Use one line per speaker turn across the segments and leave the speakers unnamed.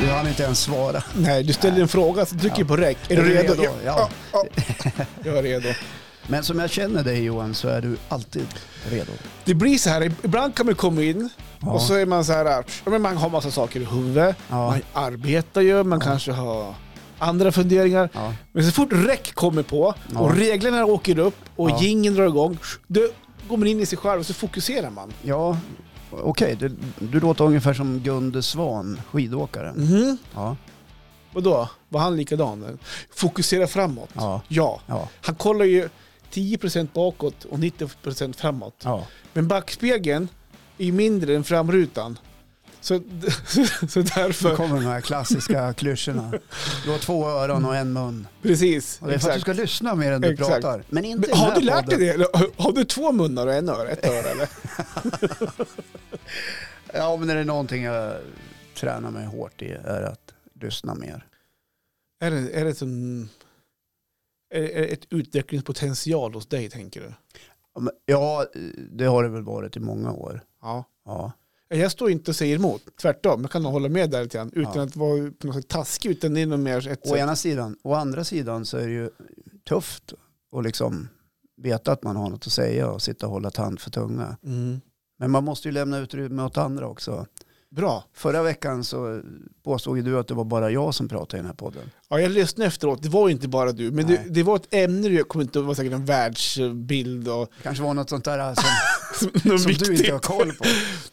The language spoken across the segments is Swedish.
Du hann inte ens svara.
Nej, du ställer en fråga så trycker jag på räck. Är du redo?
Ja.
Ja. ja, ja. Jag är redo.
Men som jag känner dig Johan så är du alltid redo.
Det blir så här, ibland kan man komma in
Ja.
och så är man så här, ja, men man har massa saker i huvudet,
Ja.
man arbetar ju, man kanske har andra funderingar.
Ja.
Men så fort räck kommer på
Ja.
och reglerna åker upp och
Ja.
jingeln drar igång, då går man in i sig själv och så fokuserar man.
Ja, okej. Du, du låter ungefär som Gunde Svan, skidåkaren.
Mhm.
Ja,
Vadå? Var han likadan? Fokusera framåt.
ja,
Ja.
ja.
Han kollar ju 10% bakåt och 90% framåt.
ja.
Men backspegeln är ju mindre än framrutan. Så, så
Nu
därför...
kommer de här klassiska klyschorna. Du har två öron och en mun.
Precis.
Och det är för att du
exakt.
ska lyssna mer än du
Exakt.
pratar. Men inte i
Men
den
har
här
du lärt dig
podden.
det? Eller har- Har du två munnar och en öra? Ett öra eller?
Ja, men är det någonting jag tränar mig hårt i är att lyssna mer.
Är det, är det som... Är det är det ett utvecklingspotential hos dig, tänker du?
Ja, men- Ja, det har det väl varit i många år.
Ja.
Ja,
Jag står inte och säger emot, tvärtom. Jag kan nog hålla med där lite grann, utan
Ja.
att vara på något sätt taskig, utan det är nog mer ett...
Å ena sidan. Å andra sidan så är det ju tufft att liksom veta att man har något att säga och sitta och hålla tand för tunga.
Mm.
Men man måste ju lämna utrymme åt andra också.
Bra.
Förra veckan så påstod ju du att det var bara jag som pratade i den här podden.
Ja, jag lyssnade efteråt, det var ju inte bara du, men det,
Nej.
det var ett ämne, jag kommer inte ihåg, det var säkert en världsbild och...
Det kanske var något sånt där som,
något
som du inte
viktigt.
har koll på.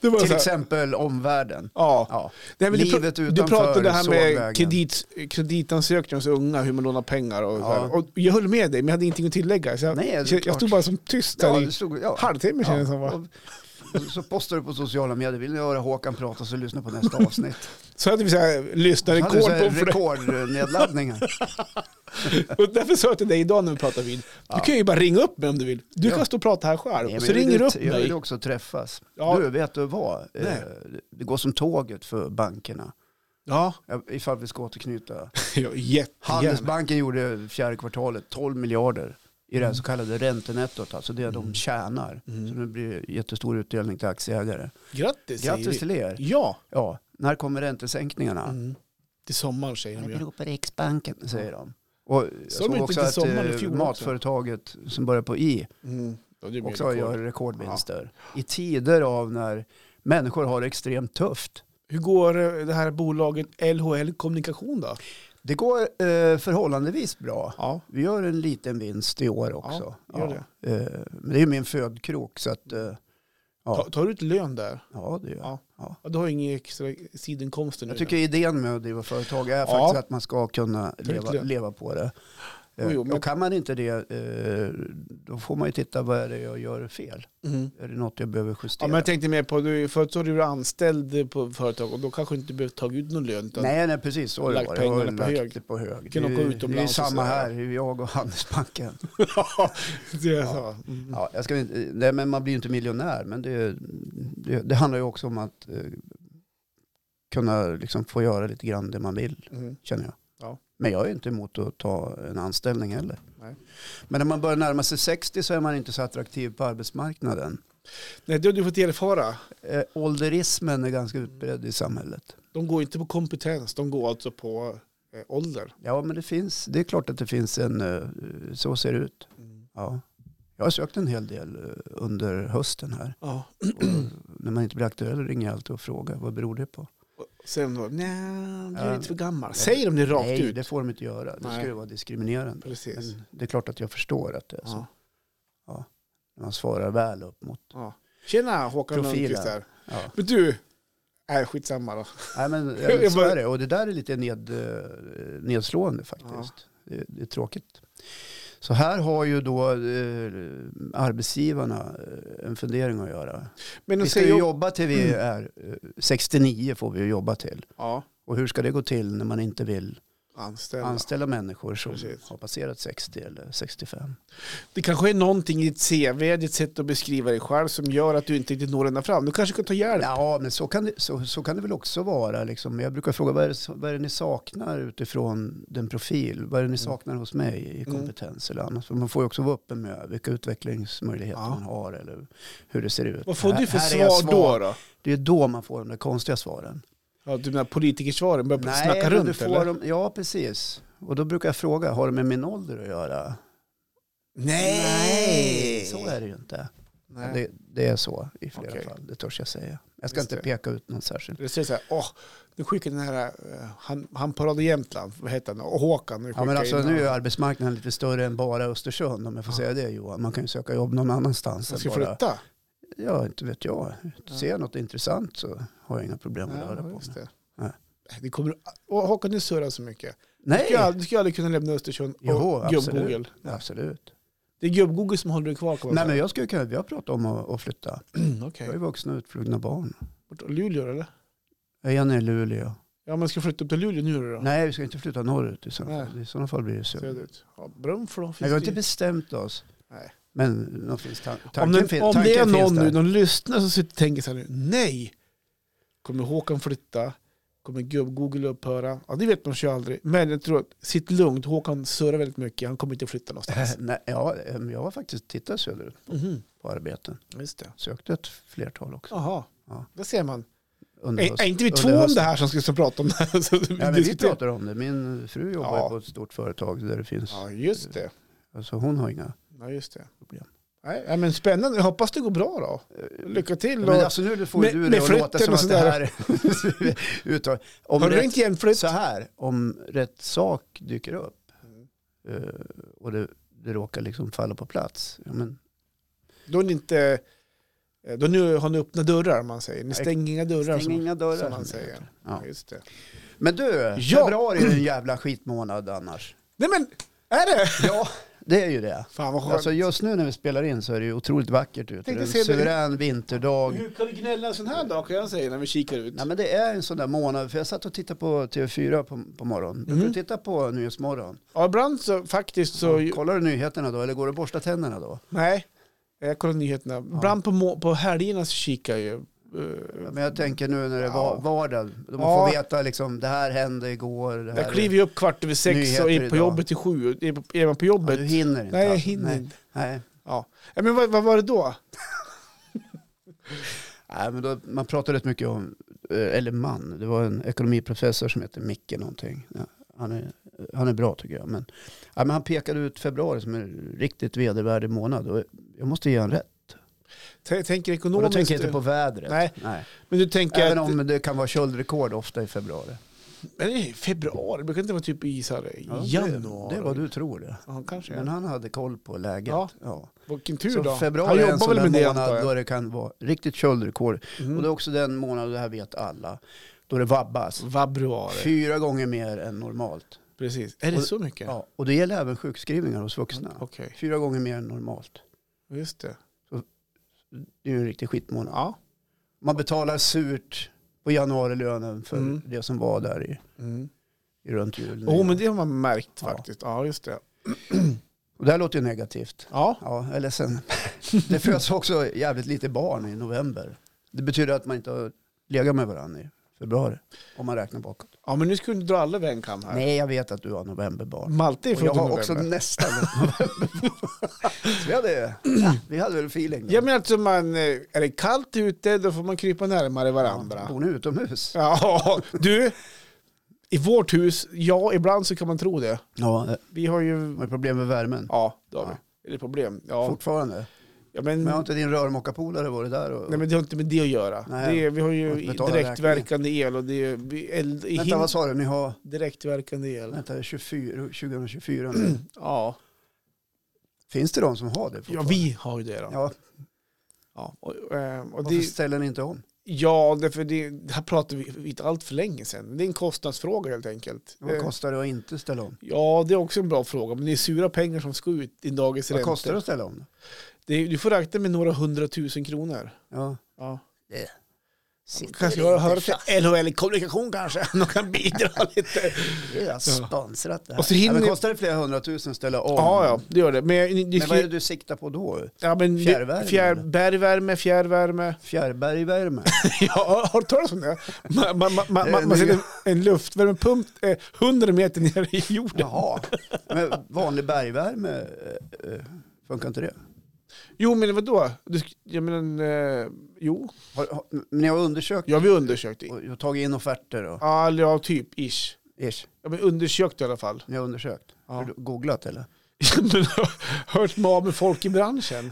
Det var så
Till
här,
exempel omvärlden.
Ja.
Ja.
Nej, men du,
Livet
pra- du
utanför
pratade det här
sågvägen.
med kredit, kreditansökningar hos unga, hur man lånar pengar och, så
Ja.
här. och Jag höll med dig, men jag hade ingenting att tillägga. Så jag,
Nej, det är
så jag
klart.
stod bara som tyst
Ja,
där
det
i
stod, ja.
halvtimme
Ja.
kändes det som. va?
Och- och Så postar du på sociala medier, vill ni höra Håkan prata så lyssna på nästa avsnitt.
Så hade vi så här, lyssnarrekord
Hade du så här
på för det.
rekordnedladdningar.
Och därför sa jag till dig idag när vi pratade vid, du kan ju bara ringa upp mig om du vill. Du
Ja.
kan stå och prata här själv.
Nej,
och
men
så
jag vill
ringer du
ju-
upp
Jag vill
mig.
ju också träffas.
Ja.
Du, vet du vad? Eh,
Nej.
Det går som tåget för bankerna.
Ja,
Ja, Ifall vi ska återknyta.
ja, jättegärna.
Handelsbanken gjorde fjärde kvartalet 12 miljarder i
Mm.
det här så kallade räntenettot, alltså det de tjänar. Så det blir jättestor utdelning till aktieägare.
Grattis, säger vi. Mm.
Grattis till er.
Ja,
Ja, när kommer räntesänkningarna?
till sommaren säger de
Det
ju.
beror på Riksbanken, säger de. Och jag
Sa
såg
de inte
också
till
att
sommaren i
eh,
fjol också?
matföretaget som börjar på I
Mm. Ja, det blir
också gör
rekord.
rekordvinster. I tider av när människor har det extremt tufft.
Hur går eh, det här bolaget LHL Kommunikation då?
Det går eh, förhållandevis bra.
Ja.
Vi gör en liten vinst i år också.
Ja, gör
Eh, men det är ju min födkrok så att eh, Ja.
Ta, tar du ut lön där?
ja, det gör jag.
Ja. Ja, du har ingen extra sidinkomster nu.
Jag tycker idén med att driva företag är
Ja.
faktiskt att man ska kunna leva,
Verkligen.
leva på det. Eh,
Jo, jo, men-
Och kan man inte det, eh, då får man ju titta vad är det jag gör fel.
Mm.
Är det något jag behöver
Ja,
justera?
men jag tänkte mer på, du, förut så var du anställd på företag och då kanske du inte behövt ta ut någon lön. Utan,
Nej, nej, precis. Så har det
Lagt
varit. Jag har
pengarna på
lagt
hög.
det på hög.
Kan
det,
åka
är- det är
utomlands och
samma
sådär.
här,
Mm.
hur jag och Handelsbanken.
det är så. Mm.
Ja, jag ska, inte- nej, men man blir ju inte miljonär, men det, det, det handlar ju också om att eh, kunna liksom få göra lite grann det man vill,
Mm.
känner jag.
Ja. Mm.
Men jag är inte emot att ta en anställning heller.
Nej.
Men när man börjar närma sig 60 så är man inte så attraktiv på arbetsmarknaden.
Nej, det har du fått erfara.
Eh, ålderismen är ganska utbredd i samhället.
De går inte på kompetens, de går alltså på eh, ålder.
Ja, men det finns, det är klart att det finns en, eh, så ser det ut. Ja. Jag har sökt en hel del eh, under hösten här.
Ja.
Och när man inte blir aktuell ringer jag alltid och frågar vad beror det på?
Och Sen var nej,
Ja.
du är lite för gammal. Säger de det rakt
Nej,
ut?
det får de inte göra. Det
Nej.
skulle vara diskriminerande.
Precis.
Men det är klart att jag förstår att det är så.
Ja.
Man svarar väl upp mot.
Ja. Tjena Håkan
Profilen.
Lundqvist här.
Ja.
Men du, nej skitsamma då.
Nej, men, ja,
Jag
men så
bara-
är det. Och det där är lite ned, eh, nedslående faktiskt. Det, det är tråkigt. Så här har ju då eh, arbetsgivarna eh, en fundering att göra.
Men Mm. de
Vi ska ju
säger ju...
jobba till vi är eh, 69 får vi ju jobba till.
Ja,
Och hur ska det gå till när man inte vill
anställda.
anställa människor som
Precis.
har passerat 60 eller 65?
Det kanske är någonting i ditt CV, ditt sätt att beskriva dig själv som gör att du inte riktigt når ända fram. Du kanske kan ta hjälp.
Ja, men så kan det, så, så kan det väl också vara. Liksom. Jag brukar fråga vad är, det, som- vad är det ni saknar utifrån den profil? Vad är det
Mm.
ni saknar hos mig i kompetens eller annat? För man får ju också vara öppen med vilka utvecklingsmöjligheter
Ja.
man har eller hur det ser ut.
Vad får
Här-
du för
här är jag
svar då?
svag.
då?
Det är då man får de där konstiga svaren.
Ja, du menar politikersvaren, börjar
Nej,
snacka
men
runt
du får
eller?
Dem, ja, precis. Och då brukar jag fråga, har det med min ålder att göra? Så är det ju inte.
Nej.
Det, det är så i flera
Okej.
fall, det törs jag säga. Jag ska
Just
inte
det.
peka ut någon särskild.
Du säger så här, åh, nu skickar den här, eh, han, han på Radio Jämtland, vad heter han, och Håkan. Nu
Ja, men
skickar
alltså,
in
nu är ju
honom.
arbetsmarknaden lite större än bara Östersund, om jag får
Ja.
säga det Johan. Man kan ju söka jobb någon annanstans.
Han
än
ska
bara-
flytta.
Ja, inte vet jag. Ser jag något intressant så har jag inga problem med att röra
Ja,
på mig.
just det.
Nej.
Det kommer, åh, Håkan, du surrar så mycket. Du
Nej,
skulle aldrig, du skulle aldrig kunna lämna Östersund
Jo,
och
absolut.
gubb-Google.
absolut.
Det är gubb-Google som håller dig kvar. kan man
Nej, men
säga.
jag skulle kunna, vi har pratat om att, att flytta. Jag
Mm, Okej.
har ju vuxna utflugna barn.
Bort till Luleå eller?
Jag är nere i Luleå.
Ja, men ska du flytta upp till Luleå nu då?
Nej, vi ska inte flytta norrut i sådana
Nej.
fall. I sådana fall blir det så. Nej,
Söderut. Ja, Brunflo finns
vi har
det
inte
ju.
bestämt oss.
Nej.
Men någon finns tan- tanken,
Om, den,
fin-
om
tanken
det är
finns
någon nu,
där.
någon lyssnare som sitter och tänker så här nu, nej, kommer Håkan flytta? Kommer gubb-Google upphöra? Ja, det vet man ju aldrig. Men jag tror att, sitt lugnt, Håkan surrar väldigt mycket, han kommer inte flytta
Eh,
någonstans.
Nej, ja, em, jag har faktiskt tittat söderut
Mhm,
på arbeten.
Just det.
Sökte ett flertal också.
Jaha,
Ja.
där ser man.
Under
Är,
hösten.
är inte vi
Under
två om
hösten.
det här som ska prata om det här? Så
Ja, men vi
diskuterar-
pratar om det. Min fru jobbar
Ja.
på ett stort företag där det finns.
Ja, just det.
Alltså hon har inga.
Ja, just det.
Problem.
Nej, ja, men spännande, jag hoppas det går bra då. Lycka till.
Ja,
och-
men alltså nu får ju
Med-
du
med
det att låta
flytten
som
och
att det här är uttag. Om
Har du
rätt,
ringt igen flytt?
så här, om rätt sak dyker upp
Mm.
eh, och det, det råkar liksom falla på plats. Ja, men,
Då är ni inte... eh, Då nu har ni öppna dörrar, om man säger. Ni stänger inga dörrar.
stäng inga
som,
dörrar.
som man
som det
säger.
heter.
Ja.
Ja.
Just det.
Men du,
Ja.
februari är en jävla skitmånad annars.
Nej men, är det?
Ja, det är ju det.
Fan vad skönt.
Alltså just nu när vi spelar in så är det ju otroligt vackert ute. Det är
Tänkte
en
se Mm. det.
suverän vinterdag.
Hur kan du gnälla en sån här dag, kan jag säga, när vi kikar ut?
Nej men det är en sån där månad, för jag satt och tittade på TV4 på, på morgonen. Brukar
Mhm.
du titta på Nyhetsmorgon?
Ja, ibland så faktiskt så...
Kollar du nyheterna då eller går du och borstar tänderna då?
Nej, jag kollar nyheterna. Ibland på, må- på helgerna så kikar jag ju. eh,
Men jag tänker nu när det är
Ja.
var, vardag, då man
Ja.
får veta liksom det här hände igår. Det här
Jag kliver ju upp kvart över sex
Nyheter
och är på
idag.
jobbet till sju. Är på- Är man på jobbet?
ja, du hinner inte.
Nej, jag
alltså.
hinner
Nej.
inte.
Nej.
Ja. Ja, Men vad, vad var det då?
Nej, men då, man pratar rätt mycket om, eh, eller man, det var en ekonomiprofessor som heter Micke någonting. Ja, han, är, han är bra tycker jag. Men, ja, men han pekade ut februari som en riktigt vedervärdig månad och jag måste ge honom rätt.
T- Tänker
Och då
ekonomiskt?
tänker jag inte på vädret.
Nej.
Nej.
Men du tänker
Även
att...
om det kan vara köldrekord ofta i februari.
Men det är februari, det brukar inte vara typ i så här, i januari?
Det, det är vad du tror det.
Ja, kanske.
Men han hade koll på läget.
Ja.
Ja.
Vilken tur
Så
då.
februari
han
är en
jobbar
sån
väl med det
där
antar
månad då
jag.
det kan vara riktigt köldrekord. Och det är
Mm.
också den månad, och det här vet alla, då det vabbas.
Februari,
Fyra gånger mer än normalt.
precis. Är det
Och-
så mycket?
Ja, och det gäller även sjukskrivningar hos vuxna.
Okej,
Fyra gånger mer än normalt.
just det.
Det är ju en riktig skitmånad.
Ja.
Man betalar surt på januarilönen för
Mm.
det som var där i,
Mm.
i runt jul.
Oh, men det har man märkt
Ja.
faktiskt. Ja, just det.
Och det här låter ju negativt.
Ja,
Ja, jag är ledsen. Det föds också jävligt lite barn i november. Det betyder att man inte har legat med varandra i februari, om man räknar bakåt.
ja men nu ska du inte dra alla över en kam här.
Nej, jag vet att du har novemberbarn.
Malte är
Och jag
född i
har också
november.
nästan ett novemberbarn. Så vi hade, ja, vi hade väl feeling. då.
Ja, men alltså man, eh, är det kallt ute då får man krypa närmare varandra.
Bor ni utomhus?
Ja, du. I vårt hus, ja, ibland så kan man tro det.
Ja, eh,
Vi har ju...
man har problem med värmen.
Ja, det har
Ja.
vi. Är det problem? Ja.
Fortfarande.
ja men,
Men har inte din rörmokarpolare varit där? Och,
Nej men det har inte med det att göra.
Nej.
Det är, vi har
Man
ju
får betala
direktverkande el och det är vi- eld i
vänta,
hin-
vad sa du? Ni har
direktverkande el.
vänta, 24, 2024 nu.
Ja.
Finns det de som har det
ja,
fortfarande?
vi har ju det då. Ja.
Ja,
Och, eh, och
varför
det,
ställer ni inte om?
ja, därför det, det här pratade vi inte allt för länge sedan. Det är en kostnadsfråga helt enkelt.
Vad
Eh,
kostar det att inte ställa om?
Ja, det är också en bra fråga, men det är sura pengar som ska ut i dagens
Vad
räntor.
kostar det att ställa om? då?
Det, du får räkna med några hundratusen kronor.
Ja.
Ja.
Det
Kanske jag hör till LHL Kommunikation kanske, de kan bidra lite.
Det är sponsrat det här.
Och så hinner
ja,
ni-
men kostar det flera hundratusen att ställa om?
Ja, ja, det gör det. Men, jag-
Men vad är det du siktar på då?
Ja, men det-
Fjärrvärme,
Fjär,
eller?
bergvärme, fjärrvärme.
Fjärrbergvärme?
ja, har du talat om det? Man, man, man, man,
Det är
man,
det
man sätter
nya.
en luftvärmepump eh, 100 meter ner i jorden.
Jaha. Men vanlig bergvärme, eh, eh, funkar inte det?
Jo, men vadå? Du, sk- jag menar, eh, jo.
Har, har, men ni har undersökt
Ja, vi undersökte.
och och tagit in offerter och
Ja, eller ja, typ, ish.
ish.
Ja, men undersökt i alla fall.
Ni har undersökt?
Ja.
Har du googlat eller?
men hört mig av med folk i branschen.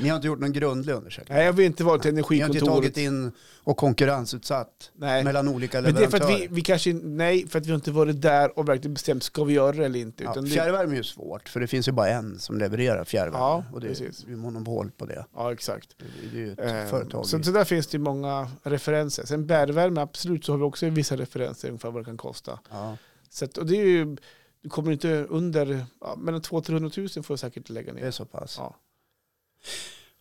Ni har inte gjort någon grundlig undersökning?
Nej, jag vill inte vara till
Ni har inte
energikontoret.
tagit in och konkurrensutsatt
Nej.
mellan olika
Men det är för
leverantörer?
att vi, vi kanske, nej, för att vi har inte varit där och verkligen bestämt, ska vi göra det eller inte?
Ja,
Utan det,
fjärrvärme är ju svårt, för det finns ju bara en som levererar fjärrvärme.
Ja,
och det
precis.
är ju monopol på det.
ja, exakt.
Det är ju ett
Eh,
företag.
Så,
i-
så där finns det ju många referenser. Sen bärvärme, absolut, så har vi också vissa referenser ungefär vad det kan kosta.
ja.
Så att, och det är ju, du kommer inte under, ja, mellan 200-300 000 får du säkert lägga
Det
ner.
är så pass.
Ja.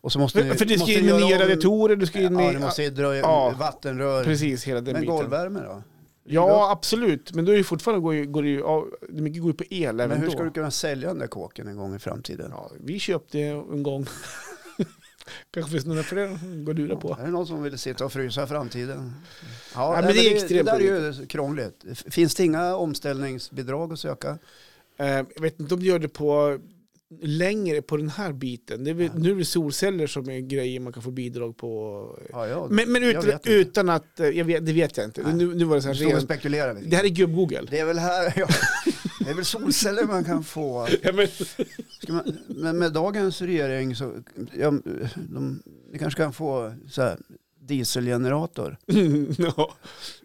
Och så måste
För, för du ska
måste
in med
göra
nya
om-
radiatorer, du ska in
Ja,
med,
du måste ju dra i
Ja.
vattenrör.
precis, hela den
Men
biten.
golvvärme då?
Ja, absolut. Men då är det fortfarande går ju, går det ju, ja, det mycket går ju på el även
Men hur
då.
ska du kunna sälja den där kåken en gång i framtiden?
Ja, vi köpte en gång. Kanske finns några fler som går att lura på.
Är det någon som vill sitta och frysa i framtiden? Ja,
men
nej,
det är
det
extremt
där är ju krångligt. F- Finns det inga omställningsbidrag att söka?
Eh, Jag vet inte om du gör det på längre på den här biten. Det är väl,
Nej.
nu är det solceller som är grejer man kan få bidrag på.
Ja, ja.
Men, men
jag vet
utan,
inte.
utan att, eh, jag vet, det vet jag inte.
Nej.
Nu, nu var det så
Du
här
står och
rent.
spekulerar lite.
Det här är gubb-Google.
Det är väl här, ja. det är väl solceller man kan få.
Ja, men,
Ska man, men med dagens regering så, ja, de, ni kanske kan få så här, dieselgenerator.
ja.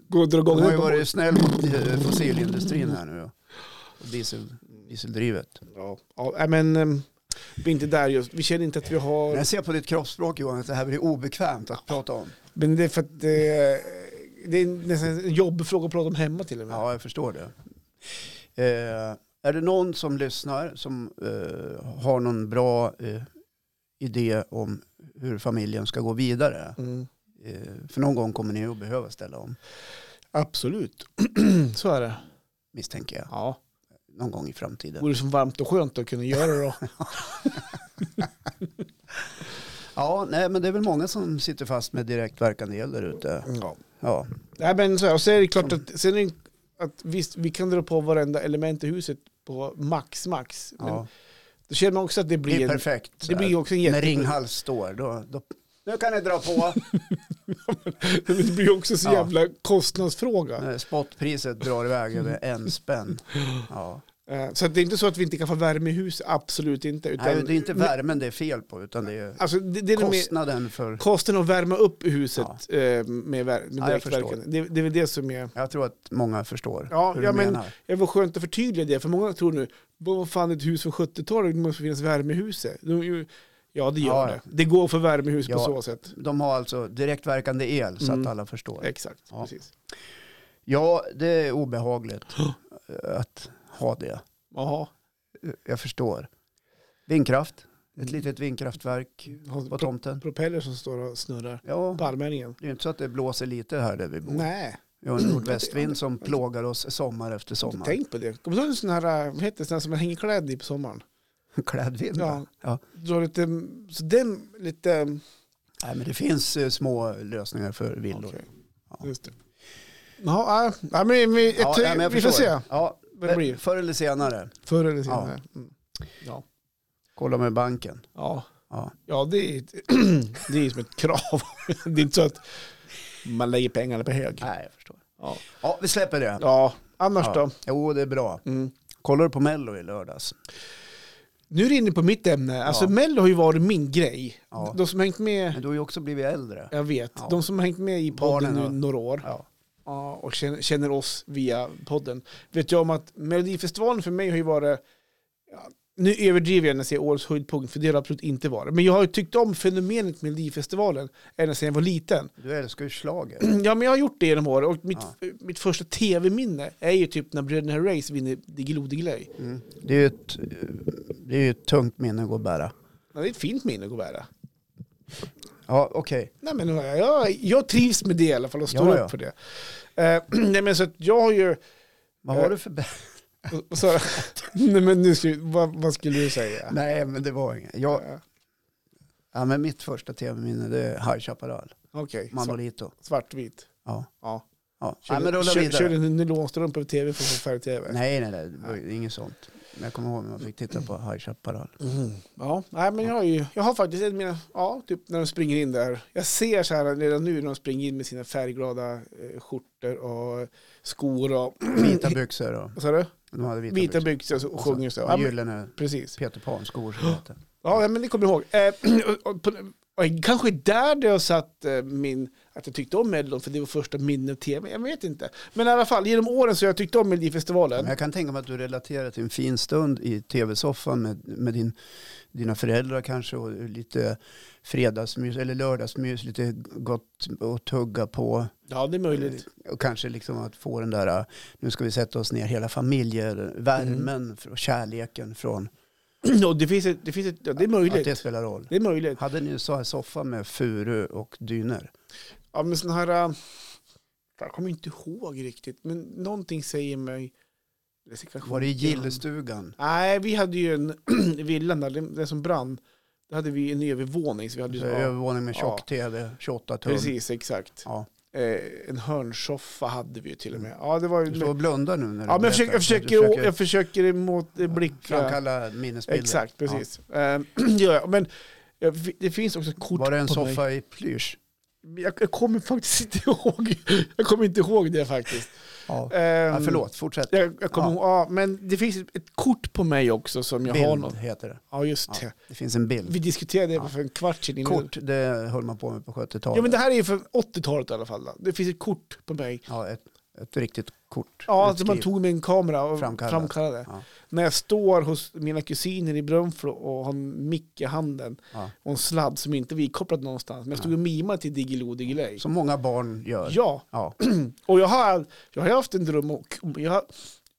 Gå och dra
De
igång
har ju
den. på-
varit snäll mot eh, fossilindustrin här nu. ja. Och diesel, dieseldrivet.
Ja, ja, nej, men eh, vi är inte där just. Vi känner inte att vi har...
Men jag ser på ditt kroppsspråk Johan att det här blir obekvämt att prata om.
Men det är för att eh, det är nästan en jobbfråga att prata om hemma till och med.
Ja, jag förstår det. Eh, är det någon som lyssnar som eh, har någon bra eh, idé om hur familjen ska gå vidare?
Mm.
Eh, för någon gång kommer ni att behöva ställa om,
Absolut, så är det.
misstänker jag.
Ja.
Någon gång i framtiden.
Vore det som varmt och skönt att kunna göra det då.
Ja, nej, men det är väl många som sitter fast med direktverkande el där ute.
Ja.
Ja,
Nej, men så här, och sen är det klart att, sen är det, att visst, vi kan dra på varenda element i huset på max, max. Men
ja.
då känner man också att det
Det
blir
är
en,
perfekt. så
det
här.
blir också en
När
jätte...
Ringhals står, då, då... Nu kan ni dra på.
det blir också så
Ja.
jävla kostnadsfråga.
När Eh, Spotpriset drar iväg över en spänn. Ja.
Eh, Så att det är inte så att vi inte kan få värme i huset, absolut inte. Utan,
Nej, det är inte värmen det är fel på, utan det är
Alltså, det, det är nog mer-
kostnaden för...
Kostnaden att värma upp huset eh, med, vär- med
Ja, jag förstår.
direktverkande. Det, det är väl det som är...
Jag tror att många förstår
Ja,
hur
ja,
du
men-
menar.
Det var skönt att förtydliga det, för många tror nu, vad fan ett hus från 70-talet, det måste finnas värme i huset. De, är ju- ja, det gör
Ja.
det. Det går för värme i hus på
Ja.
så sätt.
De har alltså direktverkande el så
Mm.
att alla förstår.
Exakt,
Ja.
precis.
Ja, det är obehagligt eh, att ha det.
Jaha.
Jag förstår. Vindkraft, ett
Mm.
litet vindkraftverk på
Har pro-
tomten.
propeller som står och snurrar
Ja,
på Almänningen.
det är ju inte så att det blåser lite här där vi bor.
Nej,
Vi har en nordvästvind som plågar oss sommar efter
inte
sommar.
tänk på det. Kommer du ihåg en sån här, äh, vad heter det, sån här som man hänger klädd i på sommaren?
Klädvind.
Ja.
Ja. Ja.
Dra lite, så den lite...
Nej, men det finns eh, små lösningar för villor.
Okej.
Ja.
Just det. Jaha, ja, ja, men, vi- vi-
Ja,
ett-
nej, men jag
vi får
förstår.
se
Ja,
vad det blir.
Förr eller senare.
Förr eller senare. Ja. Mm. Ja.
Kolla med banken.
Ja.
Ja.
ja, det är det är som ett krav. Det är inte så att man lägger pengarna på hög.
Nej, jag förstår.
Ja,
Ja, vi släpper det.
ja annars
Ja.
då?
Jo, det är bra.
Mm.
Kollar du på Mello i lördags?
Nu är det inne på mitt ämne. Alltså
Ja.
Mello har ju varit min grej.
Ja.
De som har hängt med,
Men du har ju också blivit äldre.
jag vet,
Ja.
de som har hängt med i podden
Barnen har-
nu några år
Ja.
ja, och känner, känner oss via podden vet jag om att Melodifestivalen för mig har ju varit, ja, nu överdriver jag när jag säger årets höjdpunkt, för det har det absolut inte varit. Men jag har ju tyckt om fenomenet Melodifestivalen ända sedan jag var liten.
Du älskar ju schlager.
Ja, men jag har gjort det genom åren. Och mitt, mitt första tv-minne är ju typ när bröderna Race vinner Diggiloo Diggiley.
Mm. Det är ju ett, eh, det är ju ett tungt minne att gå och bära.
Ja, Det är ett fint minne att bära.
Ja, okej.
Nej, men jag- jag, jag trivs med det i alla fall och står
Ja, ja.
upp för det. Eh, nej, men så att jag har ju...
Vad
Eh.
har du för... bä-
och- och Så, nej, men nu skulle, vad, vad skulle du säga?
Nej, men det var inget. Jag,
Eh,
ja, men mitt första tv-minne det är High Chaparral.
Okej, svart,
Manolito.
svartvit.
Ja.
Ja.
ja.
Körde,
Nej, men rulla
kör,
vidare.
körde en nylonstrumpa på tv för att få färg-tv.
Nej, nej, nej. Det var inget sånt. Men jag kommer ihåg när man fick titta på High Chaparral.
Mm. Ja, nej, men jag, har ju, jag har faktiskt en mina, ja, typ när de springer in där. Jag ser så här redan nu när de springer in med sina färgglada eh, skjortor och skor och,
Vita byxor och
vad sa du?
de hade vita,
Vita
byxor.
byxor och sjunger så. Ja,
Och
men,
gyllene
precis.
Peter Pan-skor som det hette.
Ja, ja, men det kommer jag ihåg. Eh, och- och på- och Kanske där det har satt eh, min, att jag tyckte om Mellon, för det var första minnet tv. Jag vet inte. Men i alla fall, genom åren så har jag tyckt om Melodifestivalen.
Men jag kan tänka mig att du relaterar till en fin stund i tv-soffan med, med din, dina föräldrar kanske och lite fredagsmys eller lördagsmys, lite gott att tugga på.
Ja, det är möjligt.
Och kanske liksom att få den där, äh, nu ska vi sätta oss ner hela familjer,
Mm.
värmen och kärleken från
Och det, finns ett, det, finns ett, Mm. ja, det är
att
möjligt.
det spelar roll.
Det är möjligt.
Hade ni så här soffa med furu och dyner?
Ja, men sån här... äh, Jag kommer inte ihåg riktigt, men någonting säger mig... det är kanske
Var det i
inte-
gillestugan?
Nej, vi hade ju en villa där, den den som brann. Där hade vi en övervåning. Så vi hade ju,
Så
ja,
Övervåning med
Ja.
tjock-tv, 28 tum.
precis, exakt.
Ja.
Eh, en hörnsoffa hade vi ju till och med. Ja, det var ju...
Du står och blundar nu när du
ja, men jag försöker,
berättar.
jag försöker,
Du försöker
jag försöker emot, eh, blicka.
framkalla minnesbilder.
Exakt,
Ja.
precis. Eh, det gör jag. Men eh, vi- det finns också kort
Var det en
på mig.
soffa i plysch?
Jag, jag kommer faktiskt inte ihåg. Jag kommer inte ihåg det faktiskt.
Ja.
Um,
Ja, förlåt, fortsätt.
Jag, jag kommer
Ja.
ihåg, ja, men det finns ett, ett kort på mig också som jag har något.
Bild heter det.
Ja, just
Ja.
det.
Det finns en bild.
Vi diskuterade det
Ja.
för en kvart sedan. innan.
Kort, det höll man på med på 70-talet.
Ja, men det här är ju från 80-talet i alla fall. Då. Det finns ett kort på mig.
Ja, ett, ett riktigt kort.
Ja,
Ett
som man
skriv.
tog med en kamera och
Framkallat.
framkallade.
Ja.
När jag står hos mina kusiner i Brunflo och har en mick i handen
Ja.
och en sladd som inte är kopplad någonstans. Men jag stod och mimade till Diggiloo Diggiley.
Som många barn gör.
Ja,
Ja.
och jag har, jag har haft en dröm och jag har,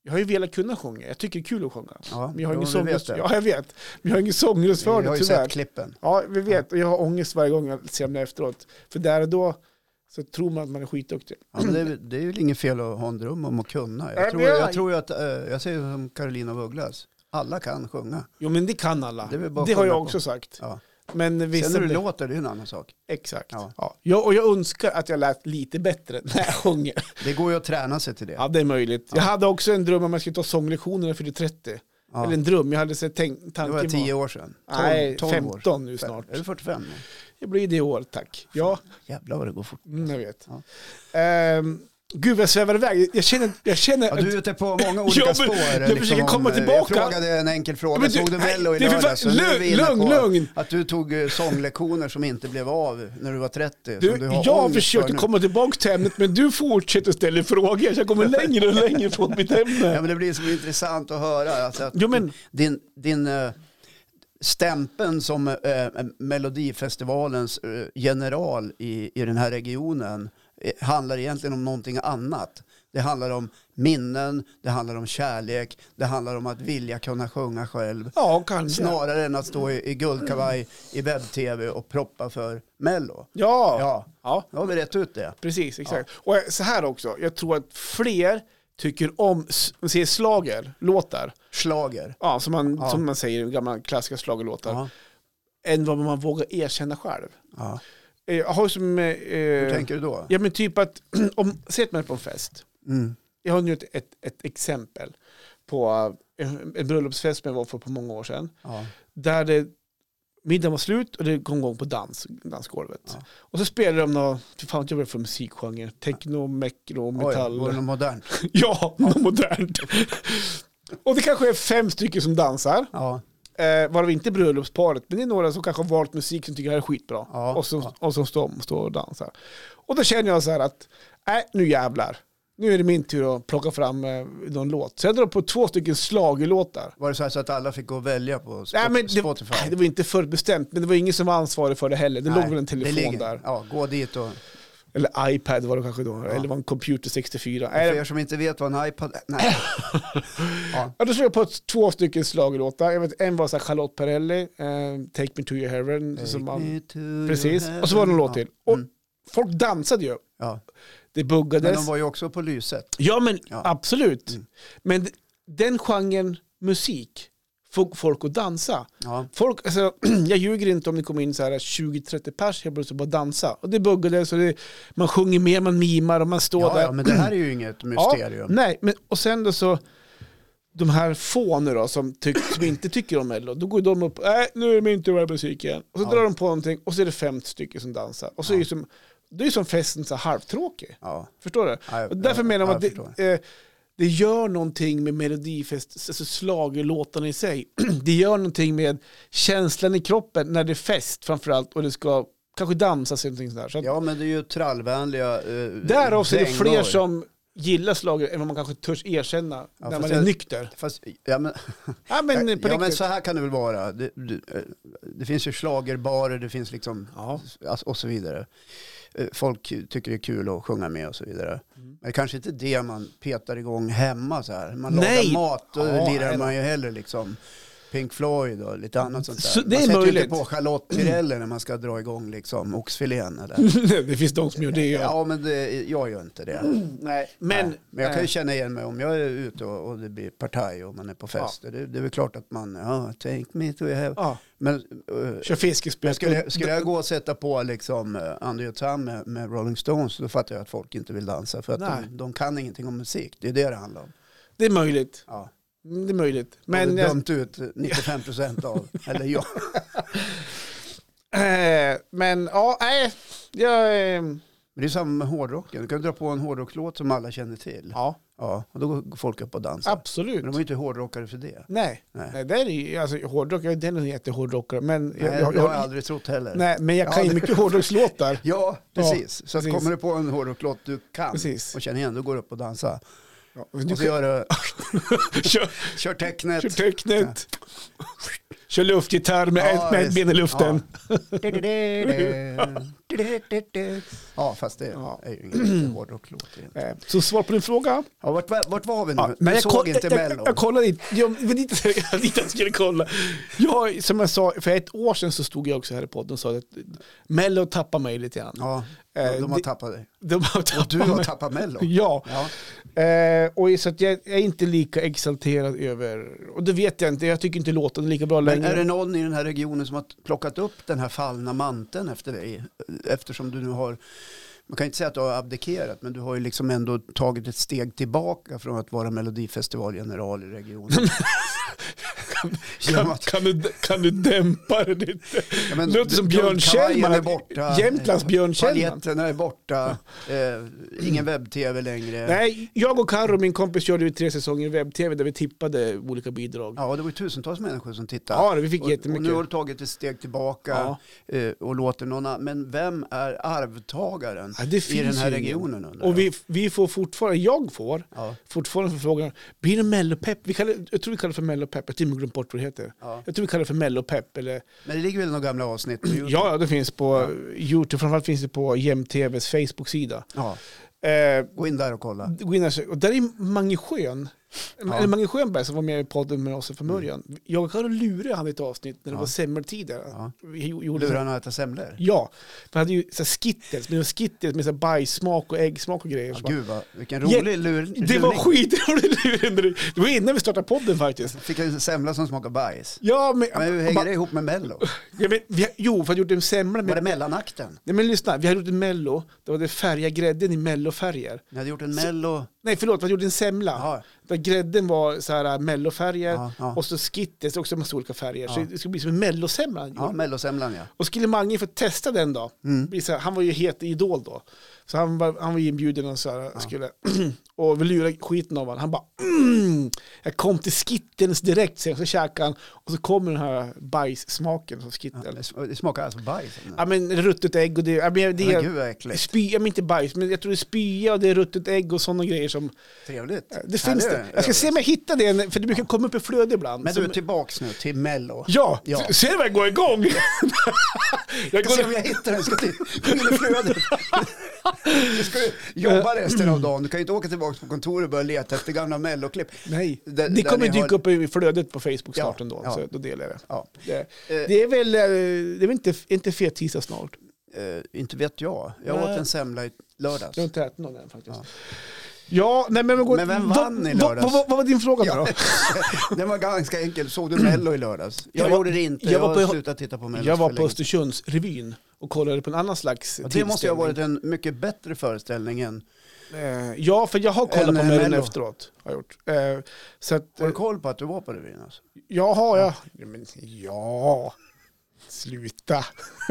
jag har ju velat kunna sjunga. Jag tycker det är kul att sjunga.
Ja,
Men jag har
jo,
ingen
vi vet
sångröst.
det.
Ja, jag vet. Men jag har ingen sångröst
Vi
för
har
det
ju sett
tyvärr.
klippen.
Ja, vi vet. Och jag har ångest varje gång jag ser mig efteråt. För där och då så tror man att man är skitduktig.
Ja, men det, är, det är ju inget fel att ha en dröm om att kunna.
Nej,
Jag tror,
men jag-
jag tror ju att, eh, jag säger som Carolina af Ugglas, alla kan sjunga.
Jo, men det kan alla.
Det är
Det,
väl bara att
har jag
sjunga på.
också sagt.
Ja.
Men
Sen
vissa...
hur det
blir-
låter, det är en annan sak.
Exakt. Ja.
Ja.
Jag, och jag önskar att jag lät lite bättre när jag sjunger.
Det går ju att träna sig till det.
Ja, det är möjligt. Jag hade också en dröm om jag skulle ta sånglektioner när jag fyllde 30.
Ja.
Eller en dröm. Jag hade sett tänk,
det
tanken
var tio
var-
år sedan. Tolv,
Nej,
tolv år.
15 nu snart.
Är du 45 nu?
Jag blir det i år, tack. Ja,
Jävlar vad det går fort.
mm, jag vet.
Ja.
Ehm, gud, jag svävar iväg. Jag känner... Jag känner
Ja, du är ute på många olika
Ja, men
spår.
jag
liksom,
försöker
om-
komma
Jag
tillbaka.
frågade en enkel
Ja,
fråga,
men du-
såg du
nej,
Mello i
det är för
lördags?
fan-
Så nu är vi inne
lugn,
på
lugn.
Att du tog eh, sånglektioner som inte blev av när du var 30.
Du,
som du har
jag
ångest för
försökte
nu.
komma tillbaka till ämnet men du fortsätter ställa frågor. Så jag kommer längre och längre från mitt
Ja,
ämne.
men det blir så intressant att höra. Alltså att
Jo, men-
Din, din eh, stämpeln som eh, Melodifestivalens eh, general i, i den här regionen eh, handlar egentligen om någonting annat. Det handlar om minnen, det handlar om kärlek, det handlar om att vilja kunna sjunga själv.
Ja, kanske.
Snarare än att stå i, i guldkavaj i webb-tv och proppa för Mello.
Ja. ja.
Ja, då har vi rätt ut det.
precis. Exakt. Och jag- så här också, jag tror att fler tycker om s- man säger slager, låtar.
Slager.
Ja, som man,
Ja.
Som man säger i gamla klassiska slagerlåtar.
Ja.
Än vad man vågar erkänna själv.
Ja.
Eh, Jag har som... eh,
Hur tänker du då?
Ja, men typ att om, säg att man är på en fest.
Mm.
Jag har nu ett, ett, ett exempel på eh, en bröllopsfest som jag var på för många år sedan.
Ja.
där det, middagen var slut och det kom igång på dans, dansgolvet.
Ja.
Och så spelade de någon, fy fan vad jag blev för musikgenre, techno, mekro,
Oj,
metall.
var det något modernt?
ja, något modernt. och det kanske är fem stycken som dansar,
Ja.
eh, varav inte bröllopsparet, men det är några som kanske har valt musik som tycker det här är skitbra.
Ja,
och som,
ja.
och som står, står och dansar. Och då känner jag så här att, nej nu jävlar. Nu är det min tur att plocka fram eh, någon låt. Så jag drar på två stycken slagelåtar.
Var det så, här så att alla fick gå och välja på Spot-
Nej, men det,
Spotify?
nej, det var inte förutbestämt, men det var ingen som var ansvarig för det heller. Det
Nej,
låg väl en telefon
ligger-
där.
Ja, gå dit och...
Eller iPad var det kanske då, eller var en computer 64. Nej,
För
det-
er som inte vet vad en iPad... Nej. ja.
ja, då slog jag på ett- två stycken slagelåtar. Jag vet, en var så här Charlotte Perrelli, eh, Take Me To Your Heaven. som man, precis, och så var det en låt till. Och
Mm.
folk dansade ju.
Ja.
Det
Men
buggades.
de var ju också på lyset.
Ja, men
Ja. Mm.
absolut. Men d- den genren musik får folk att dansa.
Ja.
Folk, alltså, jag ljuger inte om det kom in så här 20-30 pers helt plötsligt bara dansa. Och det buggades och det, man sjunger med, man mimar och man står
Ja,
där.
ja, men det här är ju inget mysterium.
nej, men, och sen då så de här få nu då som, tyck, som inte tycker om Mello, då går de upp, nej nu är det min tur att vara i musiken. Och så
Ja.
drar de på någonting och så är det 50 stycken som dansar. Och så är
Ja.
det, som, det är ju som festen så här halvtråkig.
Ja.
Förstår du?
Ja, jag-
Och därför
jag-
menar man
jag
att
förstår.
det, eh, det gör någonting med Melodifest, alltså schlagerlåtarna i sig. det gör någonting med känslan i kroppen när det är fest framförallt och det ska kanske dansas eller någonting sådär. Så att,
Ja, men det är ju trallvänliga eh,
Därav så är det fler
dängor.
som gillar slager än vad man kanske törs erkänna
Ja,
när
fast
man är
jag-
nykter.
Fast, ja, men,
Ja men eh, på
ja, men
riktigt.
så här kan det väl vara. Det, det, eh, det finns ju schlagerbarer, det finns liksom,
Ja.
alltså, och så vidare. Eh, Folk tycker det är kul att sjunga med och så vidare.
Mm.
Men det är kanske inte det man petar igång hemma så här. Man
Nej.
lagar mat, då
Ja,
lirar
nej.
man ju hellre liksom Pink Floyd och lite annat sånt där.
Så det
man
är
sätter ju
möjligt.
inte på Charlotte Tirelli när man ska dra igång liksom oxfilén eller.
Mm. det finns de som gör det. Ja.
Ja, men det, jag gör inte det.
Nej, men,
Nej, men jag kan ju
eh,
känna igen mig om jag är ute och, och det blir partaj och man är på fest. Det, det är väl klart att man, ja, take me to heaven.
ja,
Men eh,
kör fiskespö.
men skulle, skulle jag gå och sätta på liksom eh, Under your thumb med, med Rolling Stones då fattar jag att folk inte vill dansa för att
Nej.
de, de kan ingenting om musik. Det är det det handlar om.
Det är möjligt.
Ja.
Mm, Det är möjligt.
Men
Men
jag...
jag,
dömt ut 95 procent av, eller jag.
eh, men ja, nej. Jag, eh,
Men det är samma med hårdrocken. Du kan dra på en hårdrocklåt som alla känner till.
ja,
Ja, och då går folk upp och dansar.
absolut.
Men de är ju inte hårdrockare för det.
Nej,
Nej.
nej, det är ju, alltså hårdrock, jag är den är jättehårdrockare. Men jag,
Nej,
jag,
det har jag
jag,
aldrig trott heller.
nej, men jag kan
Ja,
ju
det-
mycket hårdrockslåtar.
Ja, precis. så att
precis.
kommer du på en hårdrocklåt du kan
Precis.
och känner igen, då går du upp och dansar.
Ja,
Och
du
så
kan,
gör du,
kör,
kör tecknet.
kör tecknet. Kör luftgitarr med,
Ja,
ett, med ett
visst.
ben i luften.
Ja. ja, fast det
Ja.
är ju ingen hårdrocklåt. egentligen.
Eh, Så svar på din fråga.
Ja, vart, var- vart var vi nu?
Ja, men
vi
jag,
såg
koll,
inte
jag, jag,
Mello.
jag kollade inte, jag var inte säker att jag inte skulle kolla. Jag, som jag sa, för ett år sedan så stod jag också här i podden och sa att Mello tappar mig lite grann.
Ja,
Eh,
de, de har
det-
tappat dig.
De har tappat
Du har
mig.
tappat Mello.
Ja,
Ja,
eh, och så att jag är inte lika exalterad över, och det vet jag inte, jag tycker inte låten är lika bra
men
längre.
är det någon i den här regionen som har plockat upp den här fallna manteln efter dig? Eftersom du nu har, man kan inte säga att du har abdikerat, men du har ju liksom ändå tagit ett steg tillbaka från att vara melodifestivalgeneral i regionen. Genom
kan,
att-
kan, du, kan du dämpa det lite?
Ja, men
Det låter som
dun-
Björn
kavajen
Kjellman.
är borta.
Jämtlands Björn Kjellman.
Paljetterna är borta. Eh, ingen webb-tv längre.
Nej, jag och Karo, min kompis, körde ju tre säsonger webb-tv där vi tippade olika bidrag.
Ja, det var ju tusentals människor som tittade.
Ja, vi fick
och, och
jättemycket.
nu har du tagit ett steg tillbaka eh, och låter någon annan. Men vem är arvtagaren
Ja, det
i
finns
den här
ju ingen.
regionen? undrar
Och
jag?
vi, vi får fortfarande, jag får
Ja,
fortfarande förfrågan, blir det mellopepp? Vi kallar, jag tror vi kallar det för mellopepp, jag har till och med glömt bort vad det heter.
ja.
Jag tror vi kallar det för mellopepp. Eller,
Men det ligger väl några gamla avsnitt på
ja,
YouTube?
ja, det finns på YouTube, framförallt finns det på JämTVs Facebook-sida.
Ja,
Eh,
Gå in där och kolla.
gå in och sök. och där är Mange Schön,
Ja. Mm.
eller Mange Schönberg som var med i podden med oss från början. Jag och Karo lurade han i ett avsnitt när det
Ja.
var semmeltider.
Ja.
Vi gjorde
Lurar han att äta semlor?
Ja, vi hade ju så här skittles, men det var skittles med så här bajssmak och äggsmak och grejer.
Ja,
Så bara-
gud vad, vilken
Ja,
rolig lur,
Det var
lurning.
skitrolig luring. Det var innan vi startade podden faktiskt.
Fick en semla som smakar bajs.
Ja, men,
Men hur
ba-
hänger det ihop med Mello?
Ja, men, vi, jo, för jag gjorde en semla
Var det
med...
mellanakten?
Nej men lyssna, vi hade gjort en mello, där var det färga grädden i mellofärger.
Ni hade gjort en mello?
Nej förlåt, vi hade gjort en semla.
Ja,
Där grädden var så här mellofärger
ja, ja.
och så skittes också en massa olika färger. Så
Ja.
det skulle bli som en mellosemla. han
ja
gjorde.
mellosemlan ja.
Och skulle Mange få testa den då,
Mm.
bli så här, han var ju het i Idol då. Så han var, han var inbjuden och så här, skulle, och vi lurade skiten av honom. Han bara mm, jag kom till skittens direkt, sen så käkade han och så kommer den här bajssmaken från skitten. Ja,
Ja, Det smakar alltså bajs.
men ruttet ägg och det, ja, men
Det
det
är
är
gud vad äckligt.
spya, men inte bajs, men jag tror det är spya och det är ruttet ägg och sådana grejer som,
Trevligt.
det
Härligt.
finns det. Jag ska se om jag hittar det, för det brukar komma upp i flöde ibland.
Men
Som-
du, tillbaks nu till Mello.
Ja,
Ja.
ser du vad jag går igång? jag
Jag ska se om jag hittar den. Ska till till flödet. Du ska ju jobba resten av dagen. Du kan ju inte åka tillbaka på kontoret och börja leta efter gamla Mello-klipp.
Nej,
Där-
det
där
kommer
ni
dyka
har-
upp i flödet på Facebook snart
Ja,
ändå,
ja.
så då delar jag det.
Ja.
Det,
Eh.
det är väl, eh, det är väl inte, inte fet tisdag snart.
Eh, inte vet jag. Jag
Nej.
åt en semla i lördags.
Jag har inte ätit någon än faktiskt. Ja, nej, men, men, går,
Men vem
vad-
vann i
vad-
lördags?
Vad, vad, vad var din fråga
Ja.
då?
Den var ganska enkel. Såg du Mello i lördags? Jag,
Jag var-
gjorde det inte.
jag
Jag,
var
har
på-
slutat titta på Mello
Jag var
för
på
länge.
Östersundsrevyn och kollade på en annan slags
Ja, det
tillställning.
måste ju ha varit en mycket bättre föreställning än...
Eh, Ja, för jag har kollat
En,
på
eh,
Mello
Mello.
efteråt. Har jag gjort. Eh, Så att,
Har
eh,
du koll på att du var på revyn? Alltså?
ja, har jag. Ja, men, ja. Sluta.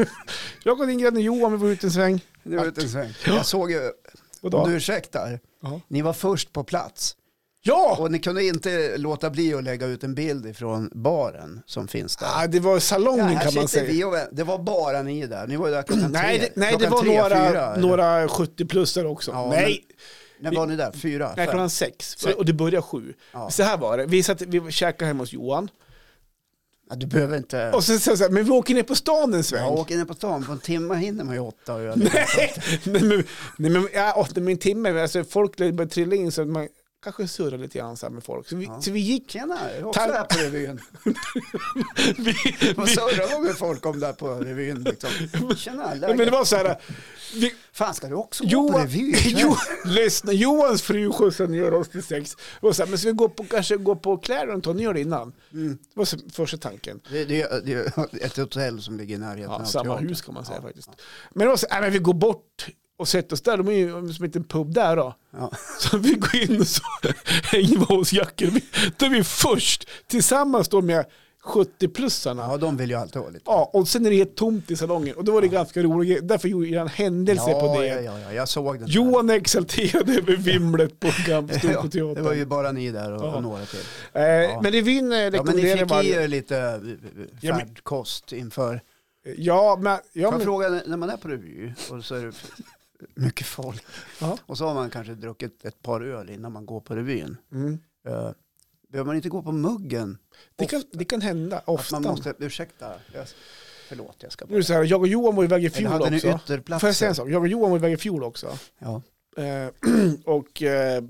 jag och Ingrid och Johan, vi var ute en sväng.
Det var
Vart?
inte en sväng. Jag såg ju, om du ursäktar,
Ja.
ni var först på plats.
Ja!
Och ni kunde inte låta bli att lägga ut en bild ifrån baren som finns där.
Ah, det var salongen
här
kan man
sitter
säga.
vi och vänt- Det var bara ni där. Ni var ju där klockan
Nej,
tre.
det, nej, det
klockan
var
tre,
några,
fyra, eller?
några 70-plussare också.
Ja,
nej,
När var ni där? Fyra?
nej,
fem?
klockan sex. Så, och det började sju.
Ja.
Så här var det. Vi, satt, vi käkade hemma hos Johan.
Ja, du behöver inte...
Och sen sa jag så här, men vi åker ner på stan en sväng.
Jag åker ner på stan, på en timme hinner man ju åtta och göra
Nej, nej, men, nej, men, ja, åh, nej, men en timme, alltså, folk började trilla in så att man kanske surrar lite grann så här med folk. Så vi,
Ja.
så vi gick,
Tjena, jag är också
Tack.
här på revyn.
vi,
Vad
vi,
surrar man med folk om där på revyn liksom? Tjena,
men det
läget?
var så här, vi,
Fan, ska du också gå på
Johan,
revyn?
jo, lyssna, Johans fru skjutsade ner oss till sex. Och så här, men ska vi gå på, kanske gå på Clarendon och ni gör det innan?
Mm.
Det var så, första tanken.
Det, det, det är ett hotell som ligger i närheten
Ja,
av
samma
teatern.
hus kan man säga faktiskt. Men det var så, nej, men vi går bort och sätter oss där, de är ju som inte en pub där då.
Ja.
Så vi går in och så hänger vi hos jackor. Vi- Då är vi först tillsammans då med 70-plussarna.
ja, de vill ju alltid ha lite.
Ja, och sen är det helt tomt i salongen. Och då var det ganska roligt. Därför gjorde jag en händelse
ja,
på det.
Ja, ja, ja, jag såg den. där.
Johan är exalterad över vimlet på Gamp
Ja,
på
det var
teatern.
ju bara ni där och,
Ja.
och några till.
eh, Men revyn eh,
Ja, men ni
rekommenderar
fick i
man.
er lite eh,
Ja, men-
färdkost inför.
Ja, men... Ja,
Får jag
men
fråga, när man är på revy och så är det mycket folk
ja.
och så har man kanske druckit ett par öl innan man går på revyn.
mm.
Eh, Behöver man inte gå på muggen?
det, kan, det kan hända
Att
ofta.
man måste, ursäkta, jag, förlåt jag ska
Nu är det så här, jag och Johan var iväg i
Eller
fjol
hade ni
också.
ytterplatser?
Får jag säga en sak? Jag och Johan var iväg i fjol också.
Ja.
Eh, och eh,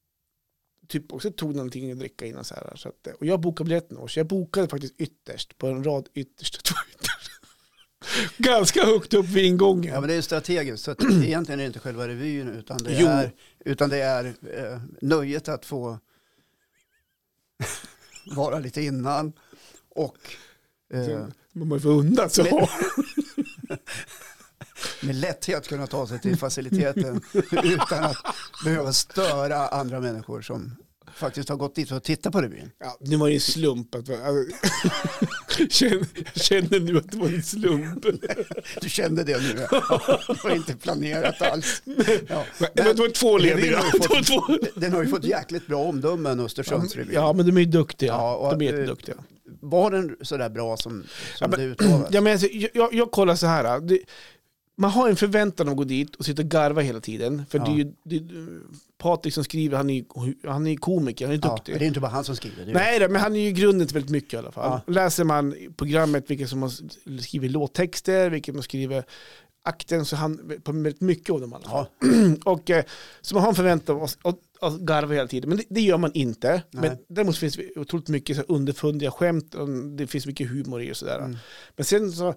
typ också tog någonting att dricka innan så här. Så att, eh, och jag bokade biljetten år, så jag bokade faktiskt ytterst på en rad ytterst. två ytterst. Ganska högt upp vid ingången.
ja, men det är ju strategiskt. Så att egentligen är det inte själva revyn utan det
Jo.
är, utan det är eh, nöjet att få vara lite innan och eh,
Man var ju förunnad så.
Men- med lätthet kunna ta sig till faciliteten utan att behöva störa andra människor som faktiskt har gått dit för att titta på revyn.
Ja, det var ju en slump. Att, alltså, jag känner- jag känner nu att det var en slump.
Du kände det nu? Ja, det var inte planerat alls. Ja.
Men, det var två
revyn
lediga.
har ju
Det
fått-
var två.
Den har ju fått jäkligt bra omdömen, Östersundsrevyn.
Ja, men de är ju duktiga.
Ja, och-
de är jätteduktiga.
Var den sådär bra som, som
Ja, men-
du utlovade?
Ja, men alltså, jag, jag, jag kollar så här. Det, man har en förväntan att gå dit och sitta och garva hela tiden. För
Ja.
det är ju det, är- Patrik som skriver, han är ju han är ju komiker, han är
Ja,
duktig.
men det är inte bara han som skriver. Det är
Nej, då, men han är ju i grunden till väldigt mycket i alla fall.
Ja.
Läser man programmet, vilka som har skrivit låttexter, vilka som har skrivit akten, så han på väldigt mycket av dem i alla fall.
Ja,
Och, eh, så man har en förväntan att, att, att garva hela tiden, men det, det gör man inte.
Nej.
Men däremot finns det otroligt mycket så här underfundiga skämt, och det finns mycket humor i och sådär.
Mm.
Men sen så,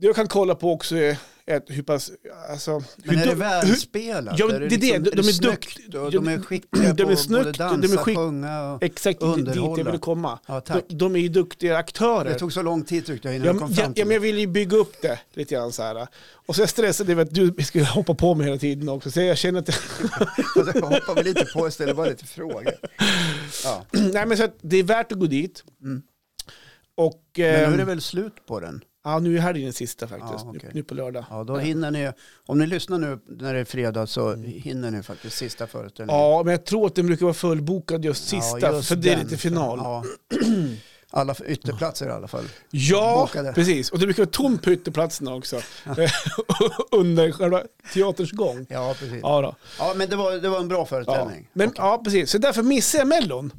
det jag kan kolla på också är är hur pass, alltså,
men är
hur
det
du- hur-
välspelat?
Ja,
Är
det är det. De- de
det
är
snyggt
duktiga.
och De är skickliga
De är
på
snyggt
både
och de
dansa,
är skick- Eh,
sjunga och...
Exakt dit- dit jag
underhålla.
ville komma.
Ja, tack.
De, de är ju duktiga aktörer.
Det tog så lång tid tyckte jag innan
Ja,
du
men-
kom
ja,
fram
ja,
till
men
det.
jag ville ju bygga upp det lite grann så här. Och så är jag stressad över att du skulle hoppa på mig hela tiden också. Så jag känner att...
Jag hoppar väl lite på och ställer bara lite frågor. Ja.
nej, men så att det är värt att gå dit.
Mm.
Och...
Men
ehm,
nu är det väl slut på den?
Ja, nu är helgen den sista faktiskt.
Ja, okej.
nu, nu på lördag.
Ja, då hinner ni, om ni lyssnar nu när det är fredag så hinner ni faktiskt sista föreställningen.
Mm. Ja, men jag tror att den brukar vara fullbokad just
Ja,
sista,
just
för det är
den.
lite final. Ja,
Ja. Alla ytterplatser i alla fall. Bokade.
precis. Och det brukar vara tomt på ytterplatserna också. Under själva teaterns gång.
Ja, precis. Ja.
Ja, då.
men det var, det var en bra
Ja.
föreställning.
Men, ja, precis. Så därför missade jag Mellon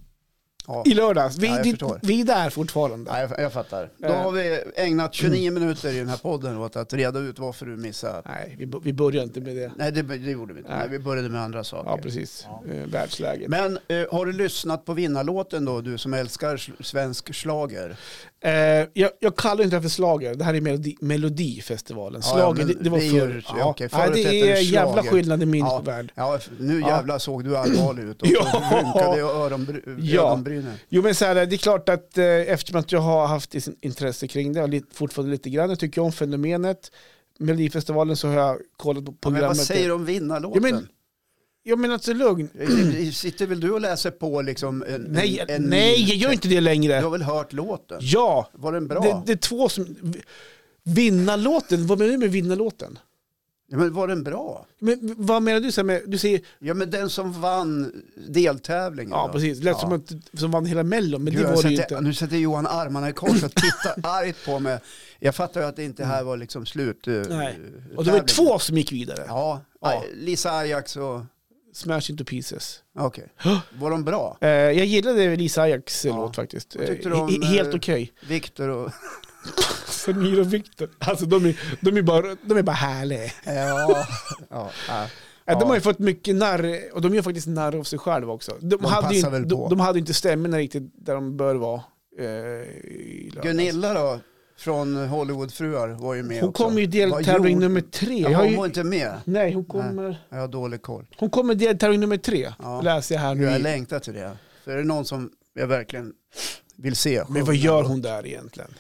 Ja.
i lördags. Vi,
Ja, jag
det-
förstår.
vi är där fortfarande.
Ja, jag, jag fattar. Då
Eh.
har vi ägnat 29 minuter i den här podden åt att reda ut varför du missade.
Nej, vi, bo- vi börjar inte med det.
Nej, det, det gjorde vi inte.
Nej.
Nej, vi började med andra saker.
Ja, precis. Eh, Världsläget.
Men eh, har du lyssnat på vinnarlåten då, du som älskar sl- svensk schlager?
Eh, jag, jag kallar inte det här för slager. Det här är melodi, Melodifestivalen.
Ja, ja,
Slager,
men
det, det var
det är ju-
förr.
ja,
Ja.
okej,
Nej,
förut hette
det
det
är jävla
schlager.
skillnad i min
Ja.
värld.
Ja, f- nu
Ja.
jävlar såg du allvarlig ut och
Ja.
rynkade öronbry-
Ja.
ögonbrynen ju nu.
Jo men så här, det är klart att eh, eftersom att jag har haft is- intresse kring det, och lite, fortfarande lite grann, jag tycker om fenomenet. Melodifestivalen så har jag kollat
Ja,
på
men
programmet.
vad säger du om vinnarlåten? Eh,
Ja, men- Ja men alltså lugn.
Sitter väl du och läser på liksom en...
Nej,
en, en
nej jag gör inte det
Du
längre.
har väl hört låten?
Ja,
Var den bra?
det, det är två som... Vinnarlåten, vad menar du med vinnarlåten?
Ja, men var den bra?
Men vad menar du? Så här med, du säger,
Ja men den som vann deltävlingen
ja
då?
precis, lät som att som vann hela mellon, men
Gud,
det
jag
var det ju
sätter-
inte.
Nu sätter Johan armarna i kors och tittar argt på mig. Jag fattar ju att det inte här var liksom slut. eh,
Nej.
eh,
Och det var
tävlingen.
ju två som gick vidare.
Ja,
Ja.
Lisa Ajax och...
Smash into pieces.
Okej.
Hå!
Var de bra?
Eh, jag gillade Lisa Ajaks eh,
Ja.
låt faktiskt.
Vad tyckte
Eh,
du om,
he- Helt
eh,
okej.
Viktor och...
Samir och Viktor, alltså de är, de är, bara, de är bara härliga. Eh,
Ja. ja. ja.
De har ju fått mycket narr, och de gör faktiskt narr av sig själva också. De,
De
hade, ju,
passar väl på.
de, de hade ju inte stämmorna riktigt där de bör vara. eh, i lördags.
Gunilla då, från Hollywoodfruar, var ju med
Hon
också.
kommer ju i
Vad
deltävling
gjorde-
nummer tre. Jag
Jaha,
har
hon
ju,
var inte med?
nej, hon kommer,
Jag har dålig koll.
hon kommer i deltävling nummer tre,
Ja.
läser jag här nu.
Jag
i-
längtar till det. För är det någon som jag verkligen vill se
Men vad gör hon där egentligen?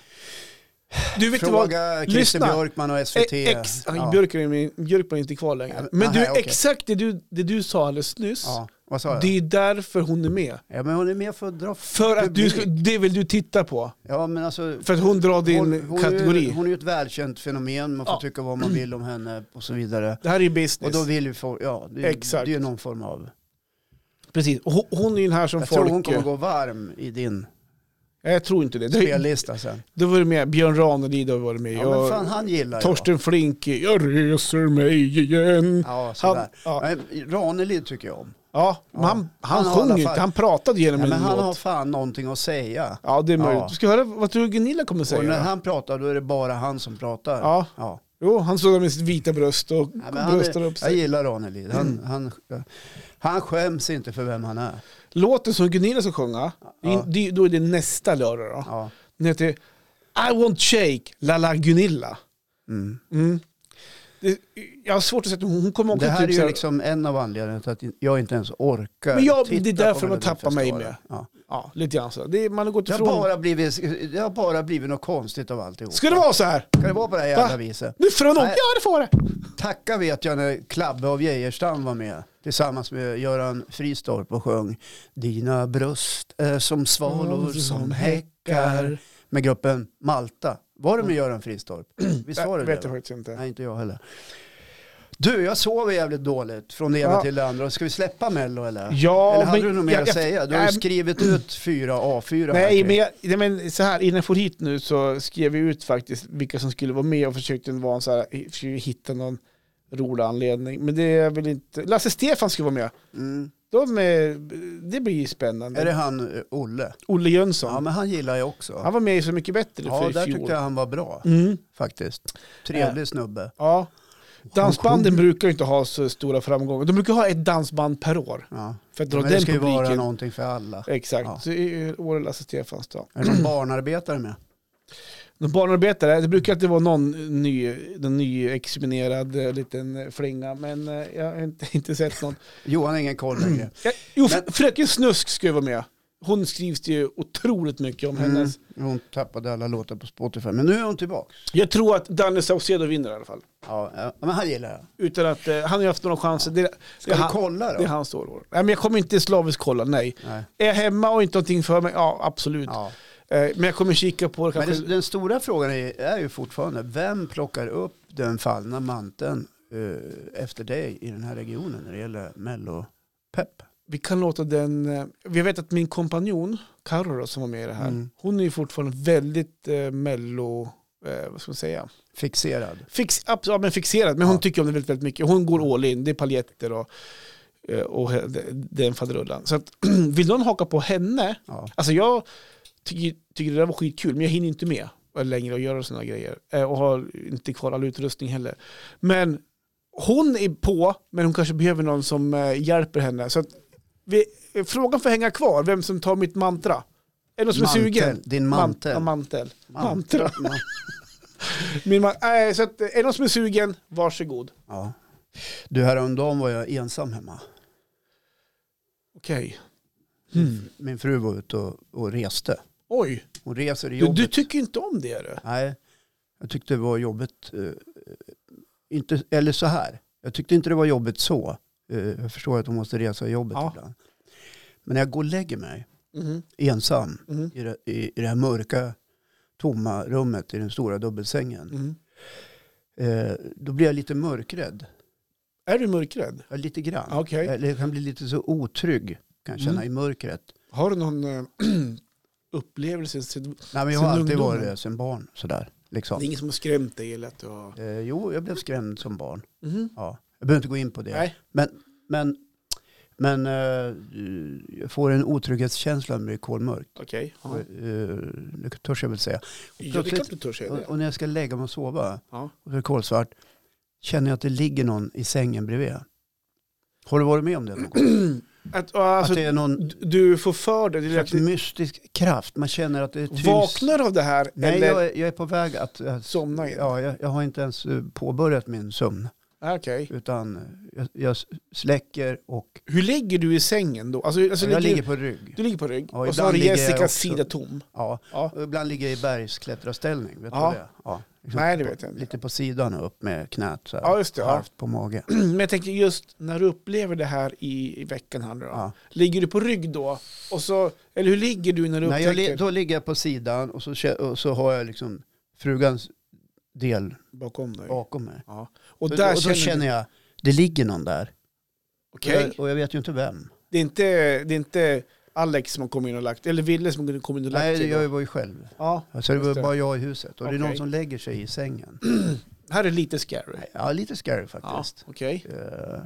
Du vet du vad?
Fråga Christer
Lyssna.
Björkman och SVT.
Eh, Ex, ja.
Ja.
Björkman, är- Björkman är inte kvar längre.
Nej,
Men
nej,
du,
okej.
exakt det du, det du sa alldeles nyss,
Ja, vad sa jag?
det är därför hon är med.
Ja, men hon är med för att dra... f-
För att du,
Publik.
ska- det vill du titta på.
Ja, men alltså...
För att hon drar din
Hon, hon, är
kategori.
ju, hon är ju ett välkänt fenomen, man får
Ja.
tycka vad man vill om henne och så vidare.
det här är ju
Och
business.
då vill ju folk, ja, det,
Exakt.
det är ju någon form av...
Precis. Och hon, hon är ju den här som
Jag
folk...
tror hon kommer gå varm i din
Ja, jag tror inte det. det
spellista sen.
då var det med Björn Ranelid har varit med.
Ja, men
Jag-
fan han gillar
Torsten Flink, jag reser mig igen.
jag. Ja,
han,
sådär.
ja,
Nej, Ranelid tycker jag om.
ja, men han, han,
Han har i alla
sjöng ju inte,
fall-
han pratade
Ja,
genom
men
en
han
låt.
har fan någonting att säga.
Ja, det är
Ja.
möjligt. Du ska höra vad tror du Gunilla kommer säga.
Och
då?
när han pratar då är det bara han som pratar.
Ja,
Ja.
jo, han står där med sitt vita bröst och
Ja, men han
bröstar
är,
upp
jag
sig. Mm.
gillar Ranelid. Han, han, han skäms inte för vem han är.
Låten som Gunilla ska sjunga,
Ja.
det, är- då är det nästa lördag då.
Ja.
Den heter I want shake, la la Gunilla.
Mm.
Mm. Det, jag har svårt att säga, hon hon kommer också
Det här är
typ så
ju
här-
liksom en av anledningarna till att jag inte ens orkar
Men jag-
titta
det är därför
på
man tappar mig
Melodifestivalen. Ja.
Ja, lite grann så. Det, är- man har gått
Det, har
ifrån...
bara blivit, det har bara blivit något konstigt av alltihop.
Ska det vara så här?
Ska det vara på det här jävla
Va?
viset?
Nu får det nog.
Nej.
Ja, det får det.
Tacka vet jag när Klabbe av Geijerstam var med tillsammans med Göran Fristorp och sjöng Dina bröst är som svalor som häckar med gruppen Malta. Var det med Göran Fristorp? Visst var det
Jag Mm. vet jag
det?
faktiskt inte.
Nej, inte jag heller. Du, jag sover jävligt dåligt från det ena
Ja.
till det andra. Ska vi släppa Mello eller?
Ja,
eller hade
men-
du något mer
jag-
att
jag-
säga? Du har ju
nej,
skrivit ut fyra A4 här,
Nej,
Chris.
men, jag, nej, men så här, innan jag for hit nu så skrev vi ut faktiskt vilka som skulle vara med och försökte, vara en så här, försökte hitta någon rolig anledning. Men det är väl inte... Lasse Stefan skulle vara med.
Mm.
De är, det blir ju
Är
spännande.
det han eh, Olle?
Olle Jönsson.
Ja, men han gillar jag också.
Han var med i Så mycket bättre
Ja,
för
där
i fjol.
tyckte jag han var bra
Mm,
faktiskt. Trevlig snubbe.
ja. Dansbanden brukar ju inte ha så stora framgångar. De brukar ha ett dansband per år.
Ja.
För att dra
Men det
den
ska ju vara
publiken.
någonting för alla.
Exakt.
Ja.
Så i år är Lasse Stefans dag.
Är det någon barnarbetare med?
De barnarbetare, det brukar alltid vara någon ny, någon ny examinerad eh, liten eh, flinga, men eh, jag har inte, inte sett någon.
Johan har ingen koll längre.
Jag, jo,
Men-
fr- Fröken Snusk ska ju vara med. Hon skrivs det ju otroligt mycket om
Mm.
hennes.
Hon tappade alla låtar på Spotify, men nu är hon tillbaka.
Jag tror att Danne Saucedo vinner i alla fall.
Ja, ja, men han gillar jag.
Utan att, eh, han har ju haft några chanser. Det,
Ska
det,
du
är han-
kolla
det är
då?
hans år. år. Nej, men jag kommer inte slaviskt kolla, nej.
Nej.
Är jag hemma och inte någonting för mig? Ja, absolut.
Ja.
Eh, Men jag kommer kika på det
Men
kanske.
det, den stora frågan är, är ju fortfarande, vem plockar upp den fallna manteln eh, efter dig i den här regionen när det gäller Mello-pepp?
Vi kan låta den... eh, Vi vet att min kompanjon, Carro då, som var med i det här,
Mm.
hon är ju fortfarande väldigt eh, mello... Eh, vad ska man säga?
Fixerad.
Fix, abs- ja, men fixerad, men hon
Ja.
tycker om det väldigt, väldigt mycket. Hon går all in, det är paljetter och, eh, och he- de- den faderullan. Så att, vill någon haka på henne,
Ja.
alltså jag tycker, tycker det där var skitkul, men jag hinner inte med längre att göra sådana grejer. Eh, och har inte kvar all utrustning heller. Men hon är på, men hon kanske behöver någon som eh, hjälper henne. Så att vi, eh, frågan får hänga kvar, vem som tar mitt mantra. Är det någon som är sugen?
Din
Man-
mantel.
ja, mantel.
Mantel.
Mantra.
Man-
Min man, nej, så att, eh, är det någon som är sugen, varsågod.
Ja. Du, häromdagen var jag ensam hemma.
Okej. Hmm.
Min fru var ute och, och reste.
Oj,
Hon reser i
du,
jobbet.
du tycker inte om det. är Du.
Nej, jag tyckte det var jobbigt. eh, inte, eller så här, jag tyckte inte det var jobbigt så. Eh, jag förstår att hon måste resa i jobbet
Ja.
ibland. Men när jag går och lägger mig
Mhm,
ensam
mhm,
i det, i, i det här mörka, tomma rummet i den stora dubbelsängen,
mhm.
eh, då blir jag lite mörkrädd.
Är du mörkrädd?
Ja, Lite grann.
Okej.
Eller jag kan bli lite så otrygg, kan jag känna,
Mm.
i mörkret.
Har du någon eh, upplevelse? sen-
Nej, men jag
Sen
har alltid
ungdomen?
varit det sen barn. Sådär,
Det
liksom.
är ingen som har skrämt dig eller att du har...
eh, jo, jag blev skrämd som barn.
Mhm.
Ja. Jag behöver inte gå in på det.
Nej.
Men, men, men eh, jag får en otrygghetskänsla när det är kolmörkt.
Okej.
Ja.
Ja.
det törs jag väl säga.
Ja, det är klart du törs säga
Och,
det.
och när jag ska lägga mig och sova
Ja.
och det är kolsvart känner jag att det ligger någon i sängen bredvid. Har du varit med om det någon gång?
Att, ja, alltså,
att det är någon
d- Du får för dig, det är
slags
att du
mystisk kraft. Man känner att det är tusen...
vaknar av det här
Nej,
eller
jag, är- jag är på väg att... att
somnar igen.
ja, jag, jag har inte ens eh, påbörjat min sömn.
Ah, Okej.
Utan eh, jag, jag släcker och...
Hur ligger du i sängen då? Alltså, alltså,
jag
ligger,
ligger på rygg.
Du ligger på rygg
Ja,
och så
ibland
har du
ligger jag
Jessicas
också.
sida tom.
Ja.
Ja.
Och ibland ligger jag i bergsklättrarställning. Vet du
Ja.
vad det är? Ja. Liksom
Nej, det vet jag inte.
Lite på sidan och upp med knät så här.
Ja, just det, ja.
Halvt på mage.
Men jag tänker just när du upplever det här i, i veckan här nu då.
Ja.
Ligger du på rygg då? Och så, eller hur ligger du när du
Nej, jag,
upptäcker
li- då ligger jag på sidan och så, kä- och så har jag liksom frugans del
bakom dig?
bakom mig.
Ja. Och
Så-
där
och då
känner, du,
jag, det ligger någon där.
okej,
Och, jag, och jag vet ju inte vem.
det, är inte, det är inte Alex som har kommit in och lagt, eller Ville som har kommit in och lagt
Nej,
sig då.
jag var ju själv.
Ja,
Alltså, det
Just
var
det.
bara jag i huset. Och det är någon
Okej.
som lägger sig i sängen.
här är lite scary.
Ja, lite scary
ja,
faktiskt.
okej.
Eh,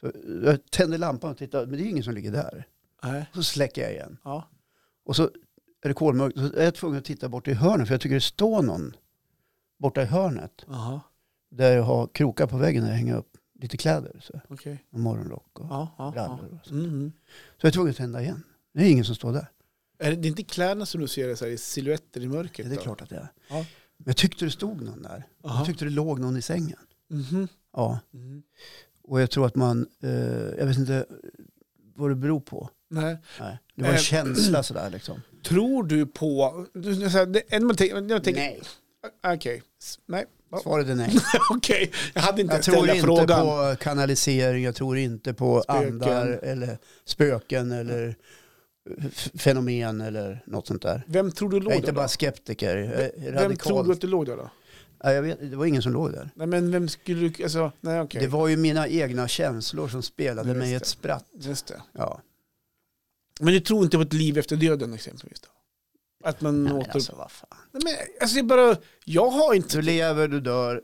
Så jag tänder lampan och tittar, men det är ingen som ligger där.
Nej.
Så släcker jag igen.
Ja.
Och så är det kolmörkt. Så är jag tvungen att titta bort i hörnet. För jag tycker det står någon borta i hörnet.
Aha,
Där jag har krokar på väggen där jag hänger upp lite kläder. Så, här.
okej.
och morgonrock och
Ja, ja, ja.
brallor. Och så.
Mm, mm.
så jag är tvungen att tända igen. Det är ingen som står där.
Är det, det är inte kläderna som du ser det så här, i silhuetter i mörkret?
Det är
då?
klart att det är.
Ja.
Men jag tyckte det stod någon där.
Aha.
Jag tyckte det låg någon i sängen.
Mhm.
Ja.
Mm.
Och jag tror att man, eh, jag vet inte vad det beror på.
Nej.
Nej. Det var en
Eh,
känsla sådär liksom.
Tror du på... du- du- så här, det- en- man tänker- man tänker-
Nej.
Okej. S- Nej.
Svaret är nej.
Okej. Jag hade inte
Jag
ens
tror
ställt
inte
frågan.
på kanalisering, jag tror inte på
Spöken.
andar eller spöken eller f- fenomen eller något sånt där.
Vem tror du
Jag är
låg
inte
där
bara
då?
skeptiker, jag är
Vem tror
radikal.
du att du låg där då?
Ja, jag vet, det var ingen som låg där.
Nej men vem skulle du... Alltså, nej okej.
Det var ju mina egna känslor som spelade
Just
mig
det.
ett spratt.
Just det.
Ja.
Men du tror inte på ett liv efter döden exempelvis då? Att man
Nej, men
åter...
alltså, vad fan.
Nej, men, alltså det är bara... Jag har inte...
Du lever, du dör,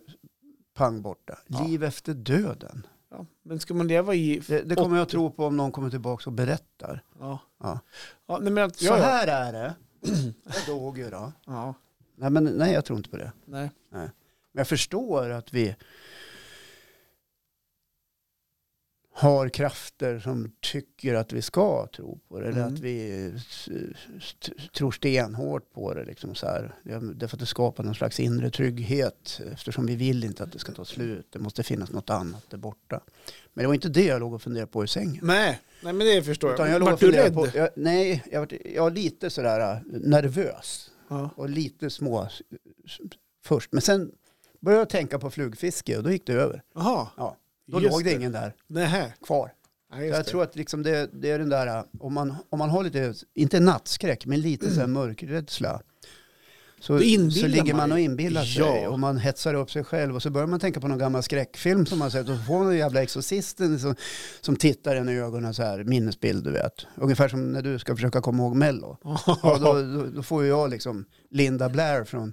pang borta.
Ja.
Liv efter döden.
Ja, men ska man leva i...
Det, det kommer jag att tro på om någon kommer tillbaka och berättar.
Ja.
Ja.
ja nej, men att,
Så
ja, ja.
här är det. Jag dog ju då.
Ja.
Nej, men, nej, jag tror inte på det.
Nej.
Men jag förstår att vi har krafter som tycker att vi ska tro på det. Eller
Mm.
att vi st- st- tror stenhårt på det. Liksom så här. Det är- Därför att det skapar någon slags inre trygghet. Eftersom vi vill inte att det ska ta slut. Det måste finnas något annat där borta. Men det var inte det jag låg och funderade på i sängen.
nej. Nej men det förstår
Utan
jag.
jag låg och
Vart du
funderade
rädd?
på, jag, nej, jag var, jag var lite sådär äh, nervös
Ja.
och lite små s- s- först. Men sen började jag tänka på flugfiske och då gick det över.
Jaha.
Ja, då
Just
låg det ingen där
Nähä.
kvar.
Nej,
Så
just
jag
det.
tror att liksom det, det är den där, äh, om man, om man har lite, inte nattskräck, men lite så här mörkrädsla. Så,
Mm. Då inbillar
så ligger man
man ju.
och inbillar sig
Ja.
och man hetsar upp sig själv och så börjar man tänka på någon gammal skräckfilm som man sett och så får man den jävla exorcisten som, som tittar en i ögonen så här, minnesbild du vet. Ungefär som när du ska försöka komma ihåg Mello. Ja, då, då, då får ju jag liksom Linda Blair från,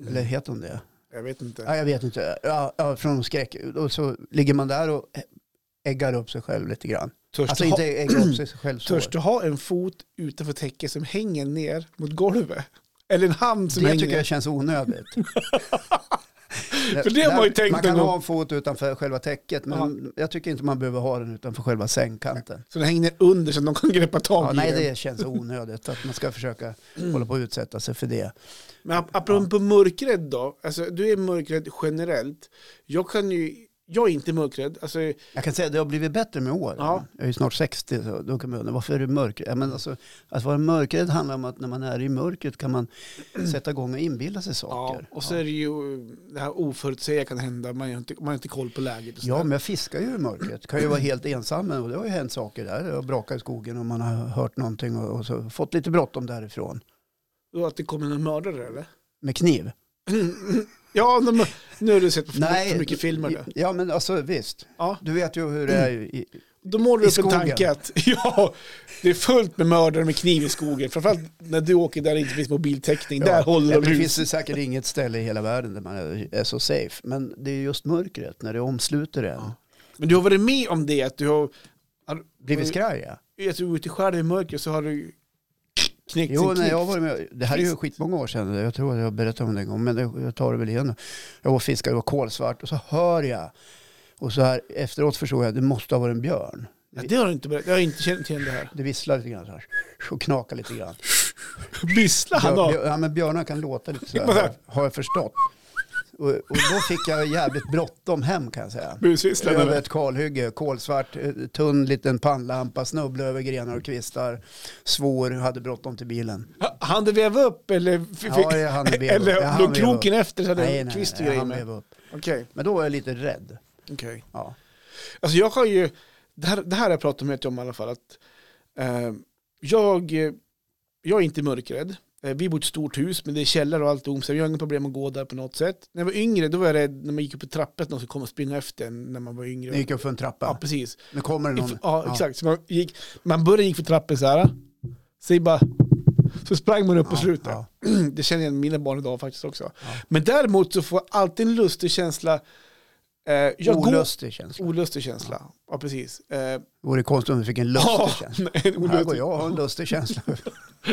eller heter hon det?
Jag vet inte.
Ja, jag vet inte. Ja, ja, från skräck. Och så ligger man där och äggar upp sig själv lite grann.
Törs,
Alltså
du
inte
ha,
äggar upp sig själv så.
törs du ha en fot utanför täcket som hänger ner mot golvet? Eller en hand som
Det
hänger
tycker
ner?
jag känns onödigt.
För det har man ju tänkt
Man kan
en gång.
ha en fot utanför själva täcket, men jag tycker inte man behöver ha den utanför själva sängkanten.
Så den hänger ner under så att någon kan greppa tag
Ja,
i
nej,
den.
det känns onödigt att man ska försöka
Mm.
hålla på att utsätta sig för det.
Men ap- apropå mörkrädd då, alltså, du är mörkrädd generellt. Jag kan ju, jag är inte mörkrädd. Alltså,
Jag kan säga att det har blivit bättre med åren.
Ja.
Jag är ju snart 60, så då kan man undra varför är du mörkrädd? Ja, men alltså, att vara mörkrädd handlar om att när man är i mörkret kan man sätta igång och inbilla sig
ja.
saker.
Och så är det ju det här oförutsägbara kan hända, man har inte, man har inte koll på läget. Och
Ja,
sådär.
men jag fiskar ju i mörkret. Kan ju vara helt ensam och det har ju hänt saker där. Jag har brakat i skogen och man har hört någonting och, och så fått lite bråttom därifrån.
Och att det kommer en mördare eller?
Med kniv.
Ja, de, nu har du sett för, för mycket filmer. Då.
Ja, men alltså visst.
Ja.
Du vet ju hur det är i...
Då
I
målar du upp en
skogen.
tanke att ja, det är fullt med mördare med kniv i skogen. Framförallt när du åker där det inte finns mobiltäckning. Där
Ja,
håller
men
de
Det
hus.
finns ju säkert inget ställe i hela världen där man är är så safe. Men det är just mörkret, när det omsluter en.
Ja. Men du har varit med om det, att du har... har
Blivit skraj, ja.
att du är ute i skärden i mörker så har du knäckt
Jo,
en
när
kniv.
jag var med, det här är ju
Visst.
skitmånga år sedan, jag tror att jag berättade om det en gång, men det- jag tar det väl igen. nu. Jag var och fiskade, det var kolsvart och så hör jag. Och så här efteråt förstår jag att det måste ha varit en björn.
Ja, det har du inte berättat. Jag har inte känt till det här.
Det visslar lite grann så här och knakar lite grann.
Vissla han
Björ-
då?
björ- ja, men björnar kan låta lite så
Vad
här,
här?
har jag förstått. Och, och då fick jag jävligt bråttom hem kan jag säga.
Busvisslan
Över
eller?
ett kalhygge, kolsvart, eh, tunn liten pannlampa, snubbla över grenar och kvistar, svor, hade bråttom till bilen.
Han du veva upp eller? fick-
Ja, jag hann veva upp. Jag
eller
hann
låg
veva
kroken efter så hade
Nej,
en
nej,
kvist och
nej,
grejer
han
med?
blev upp.
Okej,
Men då var jag lite rädd.
okej.
Ja.
Alltså jag har ju, det här, det här har jag pratat med om i alla fall, att eh, jag, eh, jag är inte mörkrädd. Eh, vi bor i ett stort hus, men det är källare och allt om så jag har inga problem att gå där på något sätt. När jag var yngre, då var jag rädd när man gick upp i trappan att någon skulle komma och springa efter en när man var yngre.
Nu gick jag upp för en trappa.
ja, precis.
Nu kommer det någon.
If, ja, exakt. Så man, gick, man började gick för trappen så här, säg bara, så sprang man upp och slutade.
Ja,
Det känner jag igen mina barn idag faktiskt också. Men däremot så får jag alltid en lustig känsla. Eh,
ja.
jag går-
Olustig känsla.
Olustig känsla. Ja, precis. Eh,
Vore konstigt om vi fick en lustig känsla.
nej, en
Här
olustig-
går jag och har en lustig känsla.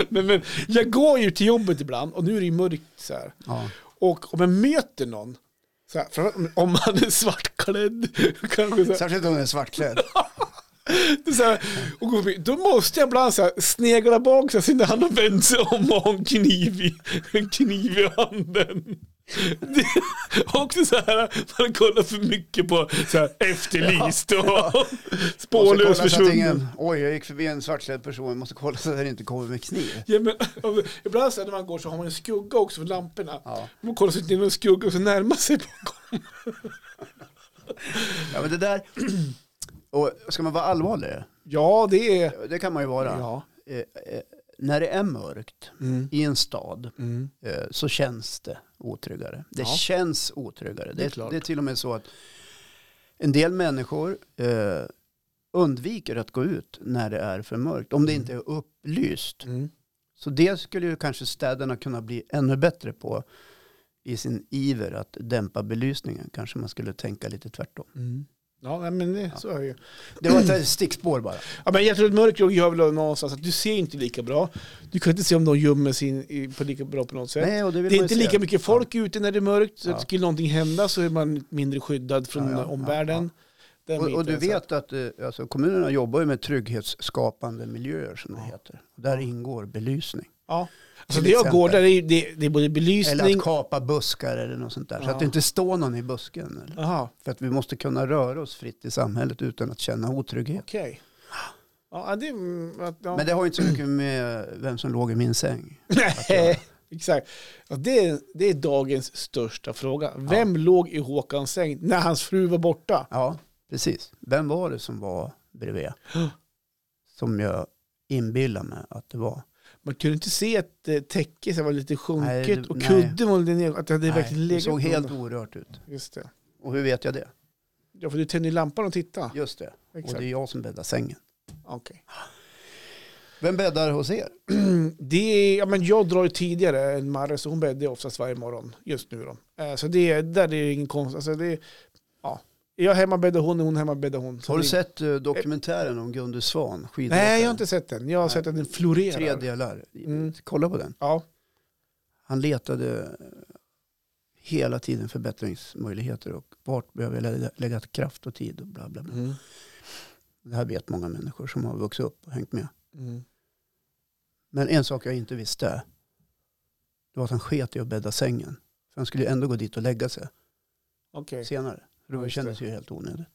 Nej, men jag går ju till jobbet ibland och nu är det ju mörkt så här.
Ja.
Och om jag möter någon, så här, för om- om han är svartklädd, kanske så här,
Särskilt om den är svartklädd.
så här, och går förbi, då måste jag ibland så här, snegla bak så att han har vänt sig om och har en kniv i, en kniv i handen. Det är också så här, man kollar för mycket på så här, efterlyst och
Och så kollar
spårlöst
så att
försvunnen.
ingen, oj, jag gick förbi en svartklädd person. Jag måste kolla så att den inte kommer med kniv.
Ja, men, ibland så här när man går så har man en skugga också för lamporna.
Ja.
Man kollar sig till någon skugga och så närmar sig bakom.
ja, men det där. Och ska man vara allvarlig?
Ja, det är...
Det kan man ju vara.
Ja. Mm.
Eh, eh, när det är mörkt i en stad eh, så känns det otryggare. Det
Ja.
känns otryggare. Det,
är
det,
klart.
är till och med så att en del människor eh, undviker att gå ut när det är för mörkt. Om det
Mm.
inte är upplyst. Så det skulle ju kanske städerna kunna bli ännu bättre på i sin iver att dämpa belysningen. Kanske man skulle tänka lite tvärtom.
Mm. Ja, nej, men det, så är det ju.
Det var ett stickspår bara.
Ja, men jag tror att mörkret gör väl någonstans att du ser inte lika bra. Du kan inte se om de gömmer sig in i- på lika bra på något sätt.
Nej, och det vill
det är
man ju
inte
se.
lika mycket folk ute när det är mörkt. Så
Ja.
Skulle någonting hända så är man mindre skyddad från
Ja, ja, ja,
omvärlden. Den
Och, och du
biten, så att-
vet att eh, alltså, kommunerna jobbar ju med trygghetsskapande miljöer som det heter. Och där ingår belysning.
Ja. Alltså
Till
det jag går
exempel.
där är, ju- det, det är både
Eller
belysning...
att kapa buskar eller något sånt där. Så
Ja.
att det inte står någon i busken. Eller?
Aha,
För att vi måste kunna röra oss fritt i samhället utan att känna otrygghet.
okej. Ja, det... mm, att- Ja.
Men det har ju inte så mycket med vem som låg i min säng.
Nej, exakt. Ja, det, är, det är dagens största fråga. Vem låg i Håkans säng när hans fru var borta?
Ja, precis. Vem var det som var bredvid? Som jag inbillar mig att det var.
Man kunde inte se att eh, täcket så här var lite sjunket
Nej, det-
och
nej.
kudden var lite ner, att det hade
Nej,
verkligen
det
legat
såg
någon.
helt orört ut.
Just det.
Och hur vet jag det?
Ja, för du tände ju lampan och tittade.
Just det. Och
Exakt.
det är jag som bäddar sängen.
Okej.
Vem bäddar hos er?
Det är, ja, men jag drar ju tidigare än Marre, så hon bäddar ju oftast varje morgon just nu. Då. Eh, Så det, är- där är det ingen konst. Alltså det, är- ja. Är jag hemma bäddar hon, är hon hemma bäddar hon. Så
Har du
det,
sett eh, dokumentären om Gunde Svan?
Nej, jag har inte sett den. Jag har sett att den florerar.
Tre delar.
Mm.
Kolla på den.
Ja.
Han letade eh, hela tiden förbättringsmöjligheter och vart behöver jag lägga, lägga kraft och tid och bla bla bla.
Mm.
Det här vet många människor som har vuxit upp och hängt med.
Mm.
Men en sak jag inte visste, det var att han sket i att bädda sängen. För han skulle ju ändå gå dit och lägga sig
Okej.
senare. Det var-
Just
kändes ju helt onödigt.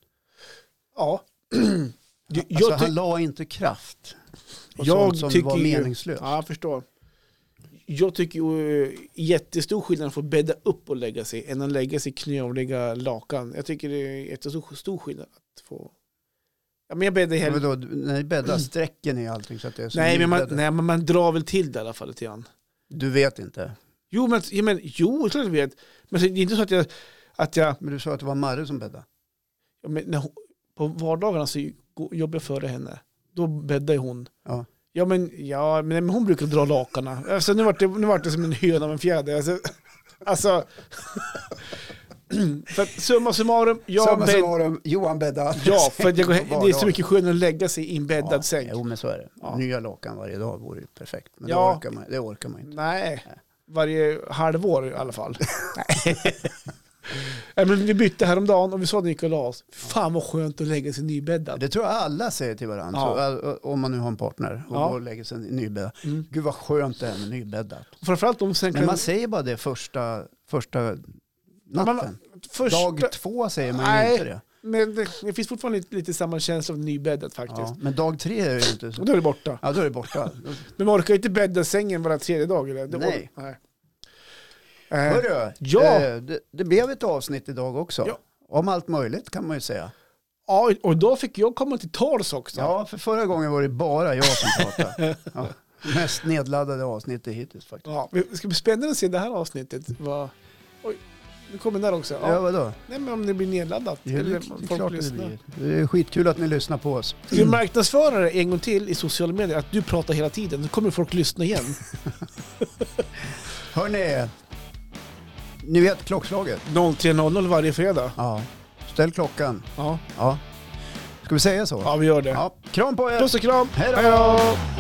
Ja. Jag,
Alltså,
jag, ty-
han la inte kraft på
Jag
sånt som
tycker
var
ju-
meningslöst.
ja, jag förstår. Jag tycker ju eh, jättestor skillnad att bädda upp och lägga sig än att lägga sig knö och lägga lakan. Jag tycker det är jättestor stor skillnad att få... Ja, men jag bäddar
Men
hellre...
Vadå, du- när ni bäddar sträcken i allting så att det är som
Nej men, man,
nybäddat.
nej, men man drar väl till det i alla fall lite grann.
Du vet inte.
Jo, men, ja, men jo, klart jag vet. Men så, det är inte så att jag... Att jag
Men du sa att det var Marre som bäddade.
ja, men, när hon, på vardagarna så går- jobbar jag före henne. Då bäddar ju hon.
Ja.
Ja men, ja, men, men hon brukar dra lakanen. Alltså, nu vart det, nu vart det som en höna med en fjäder. Alltså, alltså för att, summa summarum, jag
Samma
bädd,
summarum, Johan bäddade.
ja, för att jag går,
På
det är så
vardagar.
mycket skönare att lägga sig i en bäddad
ja,
säng.
Jo men så är det.
Ja.
Nya lakan varje dag vore ju perfekt. Men
Ja.
det, orkar man, det orkar man inte.
Nej, varje halvår i alla fall. Nej, men vi bytte häromdagen och vi sa när vi gick och la oss, fan vad skönt att lägga sig nybäddad.
Det tror jag alla säger till varandra.
Ja.
Så, ä, om man nu har en partner och
Ja.
går och lägger sig nybäddat.
Mm.
Gud vad skönt det är med nybäddat.
Framförallt om sen
Men
kan...
man säger bara det första, första natten.
första,
Dag två säger man
Nej.
ju inte det.
Men det, det finns fortfarande lite, lite samma känsla av nybäddat faktiskt.
Ja. Men dag tre är det ju inte
Och
så.
då är det borta.
Ja då är det borta. Då-
Men man orkar ju inte bädda sängen var tredje dag eller? Det
Nej.
nej. Eh,
Hörru,
ja.
eh, det, det blev ett avsnitt idag också.
Ja.
Om allt möjligt kan man ju säga.
ja, och då fick jag komma till tals också.
Ja, för förra gången var det bara jag som pratade. Ja. Mest nedladdade avsnittet hittills faktiskt.
Ja, det ska bli spännande att se det här avsnittet. Vad... Oj, nu kommer den där också. Ja.
Ja, vadå?
Nej, men om det blir nedladdat.
Det är,
eller
det,
om
är
folk
klart det
lyssnar.
blir. Det är skitkul att ni lyssnar på oss.
Ska vi marknadsföra det en gång till i sociala medier? Att du pratar hela tiden. Då kommer folk lyssna igen.
Hörni, ni vet klockslaget?
03.00 varje fredag.
Ja. Ställ klockan.
Ja,
Ja. Ska vi säga så?
ja vi gör det.
Ja. Kram på er!
Puss och kram.
Hej då!
Hej då!